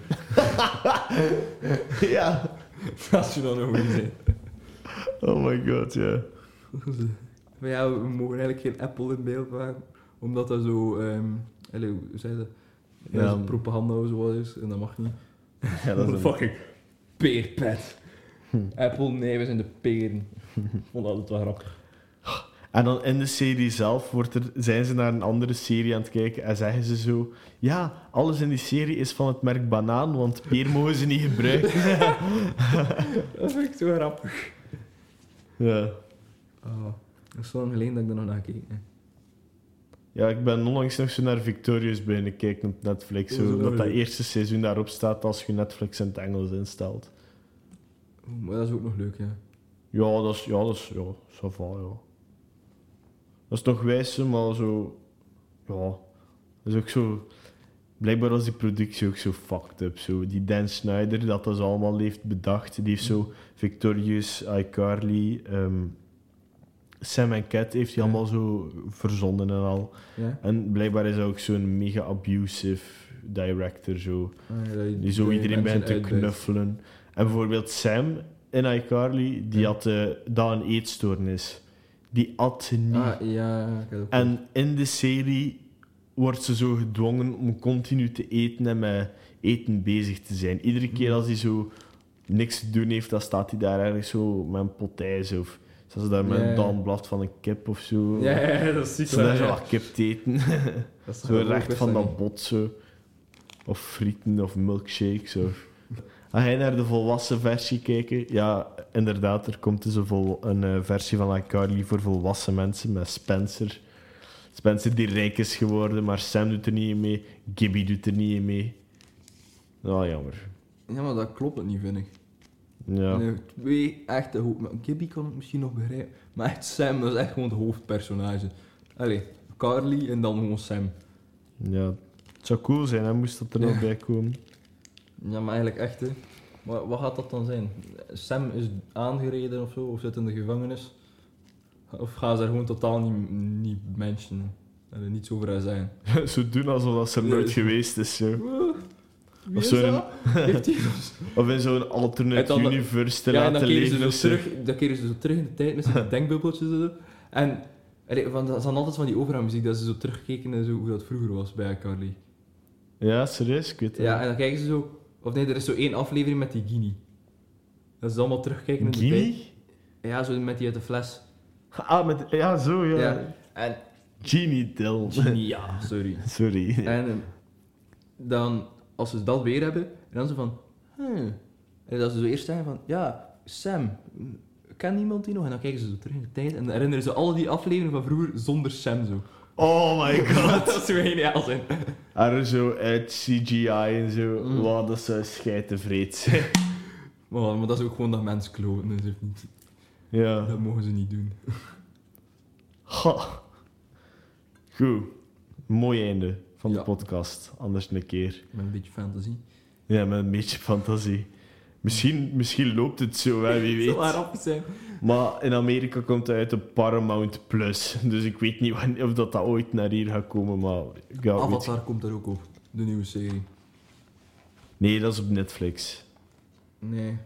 Speaker 2: Ja.
Speaker 3: Als je dan nog niet zijn.
Speaker 2: Oh my god, ja.
Speaker 3: Maar ja, we mogen eigenlijk geen Apple in beeld maken. Omdat dat zo... ehm allee, hoe zei dat?
Speaker 2: Ja.
Speaker 3: Ja. Dat is een propaganda of zo wat is. En dat mag niet.
Speaker 2: Ja, dat is een- Hm.
Speaker 3: fucking peerpet. Apple, nee, we zijn de peren. Ik vond dat altijd wel grappig.
Speaker 2: En dan in de serie zelf wordt er, zijn ze naar een andere serie aan het kijken en zeggen ze zo... Ja, alles in die serie is van het merk banaan, want peer mogen ze niet gebruiken.
Speaker 3: Dat vind ik zo grappig.
Speaker 2: Ja.
Speaker 3: Oh, dat is zo lang geleden dat ik er nog naar keek. hè.
Speaker 2: Ja, ik ben onlangs nog zo naar Victorious beginnen kijken op Netflix.
Speaker 3: Dat is
Speaker 2: Zo,
Speaker 3: wel
Speaker 2: dat dat
Speaker 3: leuk.
Speaker 2: eerste seizoen daarop staat als je Netflix in het Engels instelt.
Speaker 3: Oeh, Maar dat is ook nog leuk, ja.
Speaker 2: Ja, dat is... Ja, dat is... Ja, ça va, ja. Dat is nog wijs, maar zo... Ja. Dat is ook zo... Blijkbaar was die productie ook zo fucked up. Zo. Die Dan Snyder, dat dat allemaal heeft bedacht. Die heeft zo Victorious, iCarly... ehm, Sam en Cat heeft hij
Speaker 3: Ja.
Speaker 2: allemaal zo verzonnen en al.
Speaker 3: Ja?
Speaker 2: En blijkbaar is hij ook zo'n mega abusive director, zo,
Speaker 3: Ah, ja, dat je-
Speaker 2: die zo
Speaker 3: dat je
Speaker 2: iedereen
Speaker 3: mensen
Speaker 2: begint te
Speaker 3: uitbuit.
Speaker 2: knuffelen. En bijvoorbeeld Sam in iCarly, die
Speaker 3: Ja.
Speaker 2: had eh daar een eetstoornis. Die at niet.
Speaker 3: Ah, ja, ik had ook gehoord.
Speaker 2: En in de serie wordt ze zo gedwongen om continu te eten en met eten bezig te zijn. Iedere keer
Speaker 3: Hmm.
Speaker 2: als hij zo niks te doen heeft, dan staat hij daar eigenlijk zo met een pot ijs of... Zoals daar met
Speaker 3: Ja,
Speaker 2: een
Speaker 3: ja.
Speaker 2: danblad van een kip of zo.
Speaker 3: Ja, ja, ja, dat is ziek.
Speaker 2: Zo daar zo
Speaker 3: ja.
Speaker 2: wat kip te eten.
Speaker 3: Dat is
Speaker 2: Zo
Speaker 3: toch
Speaker 2: recht
Speaker 3: ook
Speaker 2: van dat
Speaker 3: best
Speaker 2: bot zo. Of frieten of milkshakes. Of... Ga jij naar de volwassen versie kijken? Ja, inderdaad, er komt dus een, vol- een eh, versie van iCarly voor volwassen mensen met Spencer. Spencer die rijk is geworden, maar Sam doet er niet in mee. Gibby doet er niet in mee. Nou, jammer.
Speaker 3: niet. Ja, maar dat klopt het niet, vind ik.
Speaker 2: Ja.
Speaker 3: Nee, twee echte hoofd... maar Gibby kan het misschien nog begrijpen. Maar echt Sam, dat is echt gewoon het hoofdpersonage. Allee, Carly en dan gewoon Sam.
Speaker 2: ja. Het zou cool zijn, hè, moest dat er
Speaker 3: Ja.
Speaker 2: nog bij komen.
Speaker 3: Ja, maar eigenlijk echt, hè. Maar wat gaat dat dan zijn? Sam is aangereden of zo, of zit in de gevangenis? Of gaan ze er gewoon totaal niet, niet mensen en er niets over haar zijn?
Speaker 2: zo doen alsof dat ze er nooit
Speaker 3: Ja.
Speaker 2: geweest is. Zo.
Speaker 3: Wie
Speaker 2: Of
Speaker 3: is
Speaker 2: zo
Speaker 3: dat? Heeft hij ons-
Speaker 2: Of in zo'n
Speaker 3: En
Speaker 2: alternate
Speaker 3: dan-
Speaker 2: universe te
Speaker 3: Ja, en dan
Speaker 2: laten
Speaker 3: keren ze
Speaker 2: leven.
Speaker 3: zo
Speaker 2: of zo.
Speaker 3: terug, dan keren ze zo terug in de tijd met zijn denkbubbeltjes en zo. En allee, van, dat is dan altijd van die opera-muziek, dat ze zo terugkeken en zo hoe dat vroeger was bij Carly.
Speaker 2: Ja, serieus, ik weet het
Speaker 3: Ja,
Speaker 2: niet.
Speaker 3: en dan kijken ze zo... Of nee, er is zo één aflevering met die Gini. Dat ze allemaal terugkijken in de tijd.
Speaker 2: Genie?
Speaker 3: Ja, zo met die uit de fles.
Speaker 2: Ah, met, ja, zo, ja.
Speaker 3: Ja. En
Speaker 2: Genie Dill.
Speaker 3: Genie, ja, sorry.
Speaker 2: Sorry.
Speaker 3: En ehm, dan, als ze dat weer hebben, en dan zo van... Hmm. En dat ze zo eerst zeggen van... Ja, Sam, kan niemand die nog? En dan kijken ze zo terug in de tijd en dan herinneren ze al die afleveringen van vroeger zonder Sam zo.
Speaker 2: Oh my god.
Speaker 3: dat zou geniaal zijn.
Speaker 2: er zo uit CGI en zo.
Speaker 3: Mm.
Speaker 2: Wow, dat zou scheidtevreed zijn.
Speaker 3: Maar, maar dat is ook gewoon dat mensen kloten. Dus heeft niet...
Speaker 2: Ja.
Speaker 3: Dat mogen ze niet doen.
Speaker 2: Ha. Goed. Mooi einde van de
Speaker 3: Ja.
Speaker 2: podcast. Anders een keer.
Speaker 3: Met een beetje fantasie.
Speaker 2: Ja, met een beetje fantasie. Misschien, misschien loopt het zo, hè, wie
Speaker 3: Het zal haar
Speaker 2: weet.
Speaker 3: af zijn.
Speaker 2: Maar in Amerika komt het uit op Paramount Plus. Dus ik weet niet wan- of dat, dat ooit naar hier gaat komen, maar... Ja, weet-
Speaker 3: Avatar komt daar ook op. De nieuwe serie.
Speaker 2: Nee, dat is op Netflix.
Speaker 3: Nee.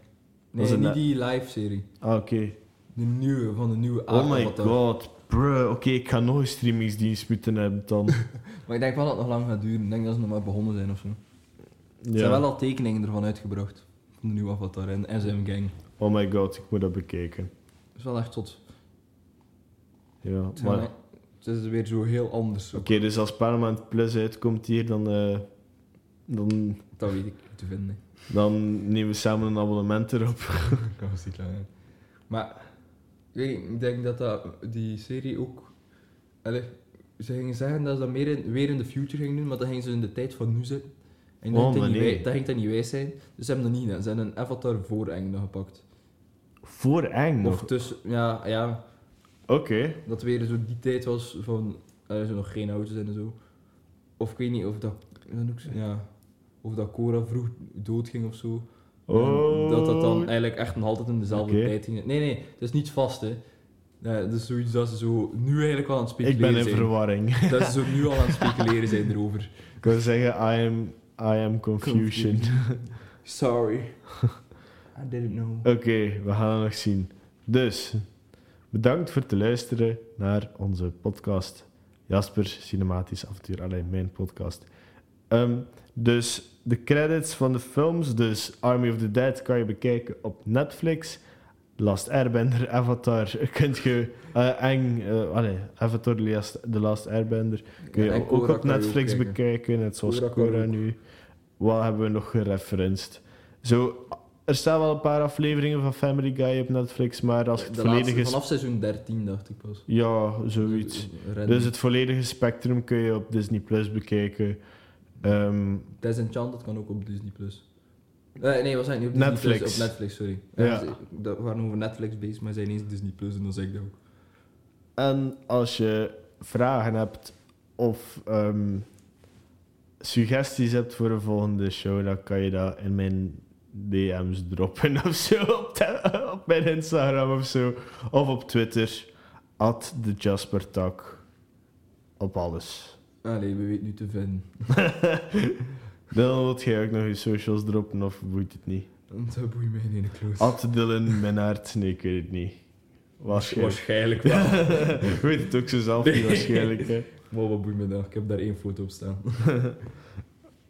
Speaker 2: Dat is
Speaker 3: Nee,
Speaker 2: een
Speaker 3: niet
Speaker 2: ne-
Speaker 3: die live serie.
Speaker 2: Ah, oké.
Speaker 3: De nieuwe, van de nieuwe
Speaker 2: Oh my
Speaker 3: Ah, Avatar.
Speaker 2: god, bruh. Oké, ik ga nog een streamingsdienst moeten hebben dan.
Speaker 3: Maar ik denk wel dat het nog lang gaat duren. Ik denk dat ze nog maar begonnen zijn of zo.
Speaker 2: Ja.
Speaker 3: Ze hebben wel al tekeningen ervan uitgebracht. Van de nieuwe Avatar en SM Gang.
Speaker 2: Oh my god, ik moet dat bekijken.
Speaker 3: Dat is wel echt tot.
Speaker 2: Ja,
Speaker 3: Het,
Speaker 2: maar...
Speaker 3: zijn- het is weer zo heel anders.
Speaker 2: Oké, dus als Paramount Plus uitkomt hier, dan, eh, dan,
Speaker 3: Dat weet ik niet te vinden.
Speaker 2: dan nemen we samen een abonnement erop.
Speaker 3: Dat was niet lang. hè. Maar ik, weet niet, ik denk dat, dat die serie ook. Allee, ze gingen zeggen dat ze dat meer in- weer in de future gingen doen, maar dan gingen ze in de tijd van nu zitten. En
Speaker 2: Oh,
Speaker 3: dat, ging
Speaker 2: maar
Speaker 3: dat, niet
Speaker 2: nee.
Speaker 3: wij- dat ging dat niet wijs zijn. Dus ze hebben dat niet gedaan. Ze hebben een avatar voor Engelen gepakt.
Speaker 2: Voor eng nog.
Speaker 3: Of tussen, ja, ja,
Speaker 2: Oké.
Speaker 3: dat weer zo die tijd was van. Er zijn nog geen auto's en zo. Of ik weet niet of dat. dan ook zo- Ja, of dat Cora vroeg doodging of zo. En
Speaker 2: Oh.
Speaker 3: Dat dat dan eigenlijk echt nog altijd in dezelfde
Speaker 2: Oké.
Speaker 3: tijd ging. Nee, nee, het is niet vast, hè. Nee, het is zoiets dat ze zo nu eigenlijk al aan het
Speaker 2: Ik
Speaker 3: speculeren
Speaker 2: ben in verwarring.
Speaker 3: zijn. Dat ze zo nu al aan het speculeren zijn erover.
Speaker 2: Ik wil zeggen, I am, I am confusion.
Speaker 3: Sorry. I didn't know.
Speaker 2: Oké, we gaan het nog zien. Dus, bedankt voor het luisteren naar onze podcast. Jasper, Cinematisch Avontuur, alleen mijn podcast. Ehm, dus de credits van de films, dus Army of the Dead kan je bekijken op Netflix. Last Airbender, Avatar, kunt je eh, eng, eh, allee, Avatar The Last, The Last Airbender, kun je
Speaker 3: Ja, en
Speaker 2: ook
Speaker 3: Cora
Speaker 2: op
Speaker 3: kan je
Speaker 2: Netflix
Speaker 3: ook kijken.
Speaker 2: bekijken, net zoals
Speaker 3: Cora
Speaker 2: Cora,
Speaker 3: kan ook.
Speaker 2: nu. Wat hebben we nog gereferenced? Zo, er staan wel een paar afleveringen van Family Guy op Netflix, maar als het
Speaker 3: de
Speaker 2: volledig
Speaker 3: laatste,
Speaker 2: is...
Speaker 3: vanaf seizoen 13 dacht ik pas.
Speaker 2: Ja, zoiets.
Speaker 3: Red-
Speaker 2: Dus het volledige spectrum kun je op Disney Plus bekijken. Ehm,
Speaker 3: Disenchanted kan ook op Disney+. Plus. Eh, nee, was eigenlijk niet op Disney+.
Speaker 2: Netflix.
Speaker 3: Plus, Op Netflix, sorry. Eh,
Speaker 2: Ja.
Speaker 3: dus, dat- we waren over Netflix bezig, maar zijn ineens Disney+, Plus en dan zeg ik dat ook.
Speaker 2: en als je vragen hebt of ehm, suggesties hebt voor een volgende show, dan kan je dat in mijn DM's droppen of zo. Op, de- op mijn Instagram of zo. Of op Twitter. At the Jasper Talk. Op alles.
Speaker 3: Allee, Ah, we weten nu te vinden.
Speaker 2: Dan wilt jij ook nog je socials droppen of boeit het niet?
Speaker 3: Want Dat boeit mij in de kloot.
Speaker 2: Ad Dylan Mennaert, nee, ik weet het niet. Waarschijnlijk.
Speaker 3: Waarschijnlijk wel.
Speaker 2: Ik weet het ook zo zelf niet
Speaker 3: Nee.
Speaker 2: waarschijnlijk. hè.
Speaker 3: Maar wat boeit me dat? Ik heb daar één foto op staan.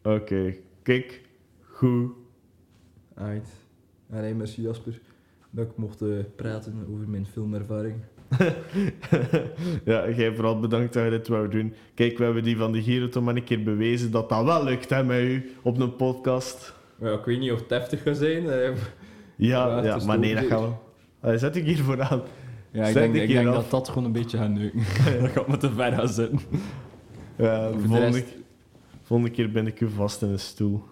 Speaker 2: Oké, kijk. Goed.
Speaker 3: Alright. Allee, merci Jasper. Dat ik mocht eh, praten over mijn filmervaring.
Speaker 2: ja, jij vooral bedankt dat je dit wou doen. Kijk, we hebben die van de Giro toch maar een keer bewezen dat dat wel lukt hè, met u op een podcast.
Speaker 3: Maar ja, ik weet niet of het heftig gaat zijn. eh. Ja,
Speaker 2: Ja,
Speaker 3: het
Speaker 2: ja,
Speaker 3: is
Speaker 2: maar nee, dat
Speaker 3: toch-
Speaker 2: gaan we. Allee, zet ik hier vooraan.
Speaker 3: Ja,
Speaker 2: Zet
Speaker 3: ik denk,
Speaker 2: een
Speaker 3: ik
Speaker 2: keer
Speaker 3: denk
Speaker 2: af.
Speaker 3: dat dat gewoon een beetje gaat neuken. dat gaat me te ver gaan zitten.
Speaker 2: Ja,
Speaker 3: Voor de
Speaker 2: volgende,
Speaker 3: rest-
Speaker 2: volgende keer ben ik u vast in een stoel.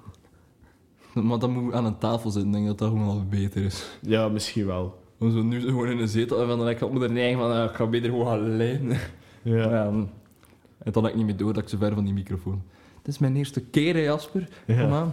Speaker 3: Maar dan moet ik aan een tafel zitten. Ik denk dat dat gewoon al beter is.
Speaker 2: Ja, misschien wel.
Speaker 3: Om zo nu zo gewoon in een zetel en dan denk ik op mijn eigen van, eh, ik ga beter gewoon gaan liggen.
Speaker 2: Ja.
Speaker 3: Ja, mm. dan- en dan had ik niet meer door dat ik zo ver van die microfoon. Het is mijn eerste keer, hè, Jasper.
Speaker 2: Ja.
Speaker 3: Kom aan.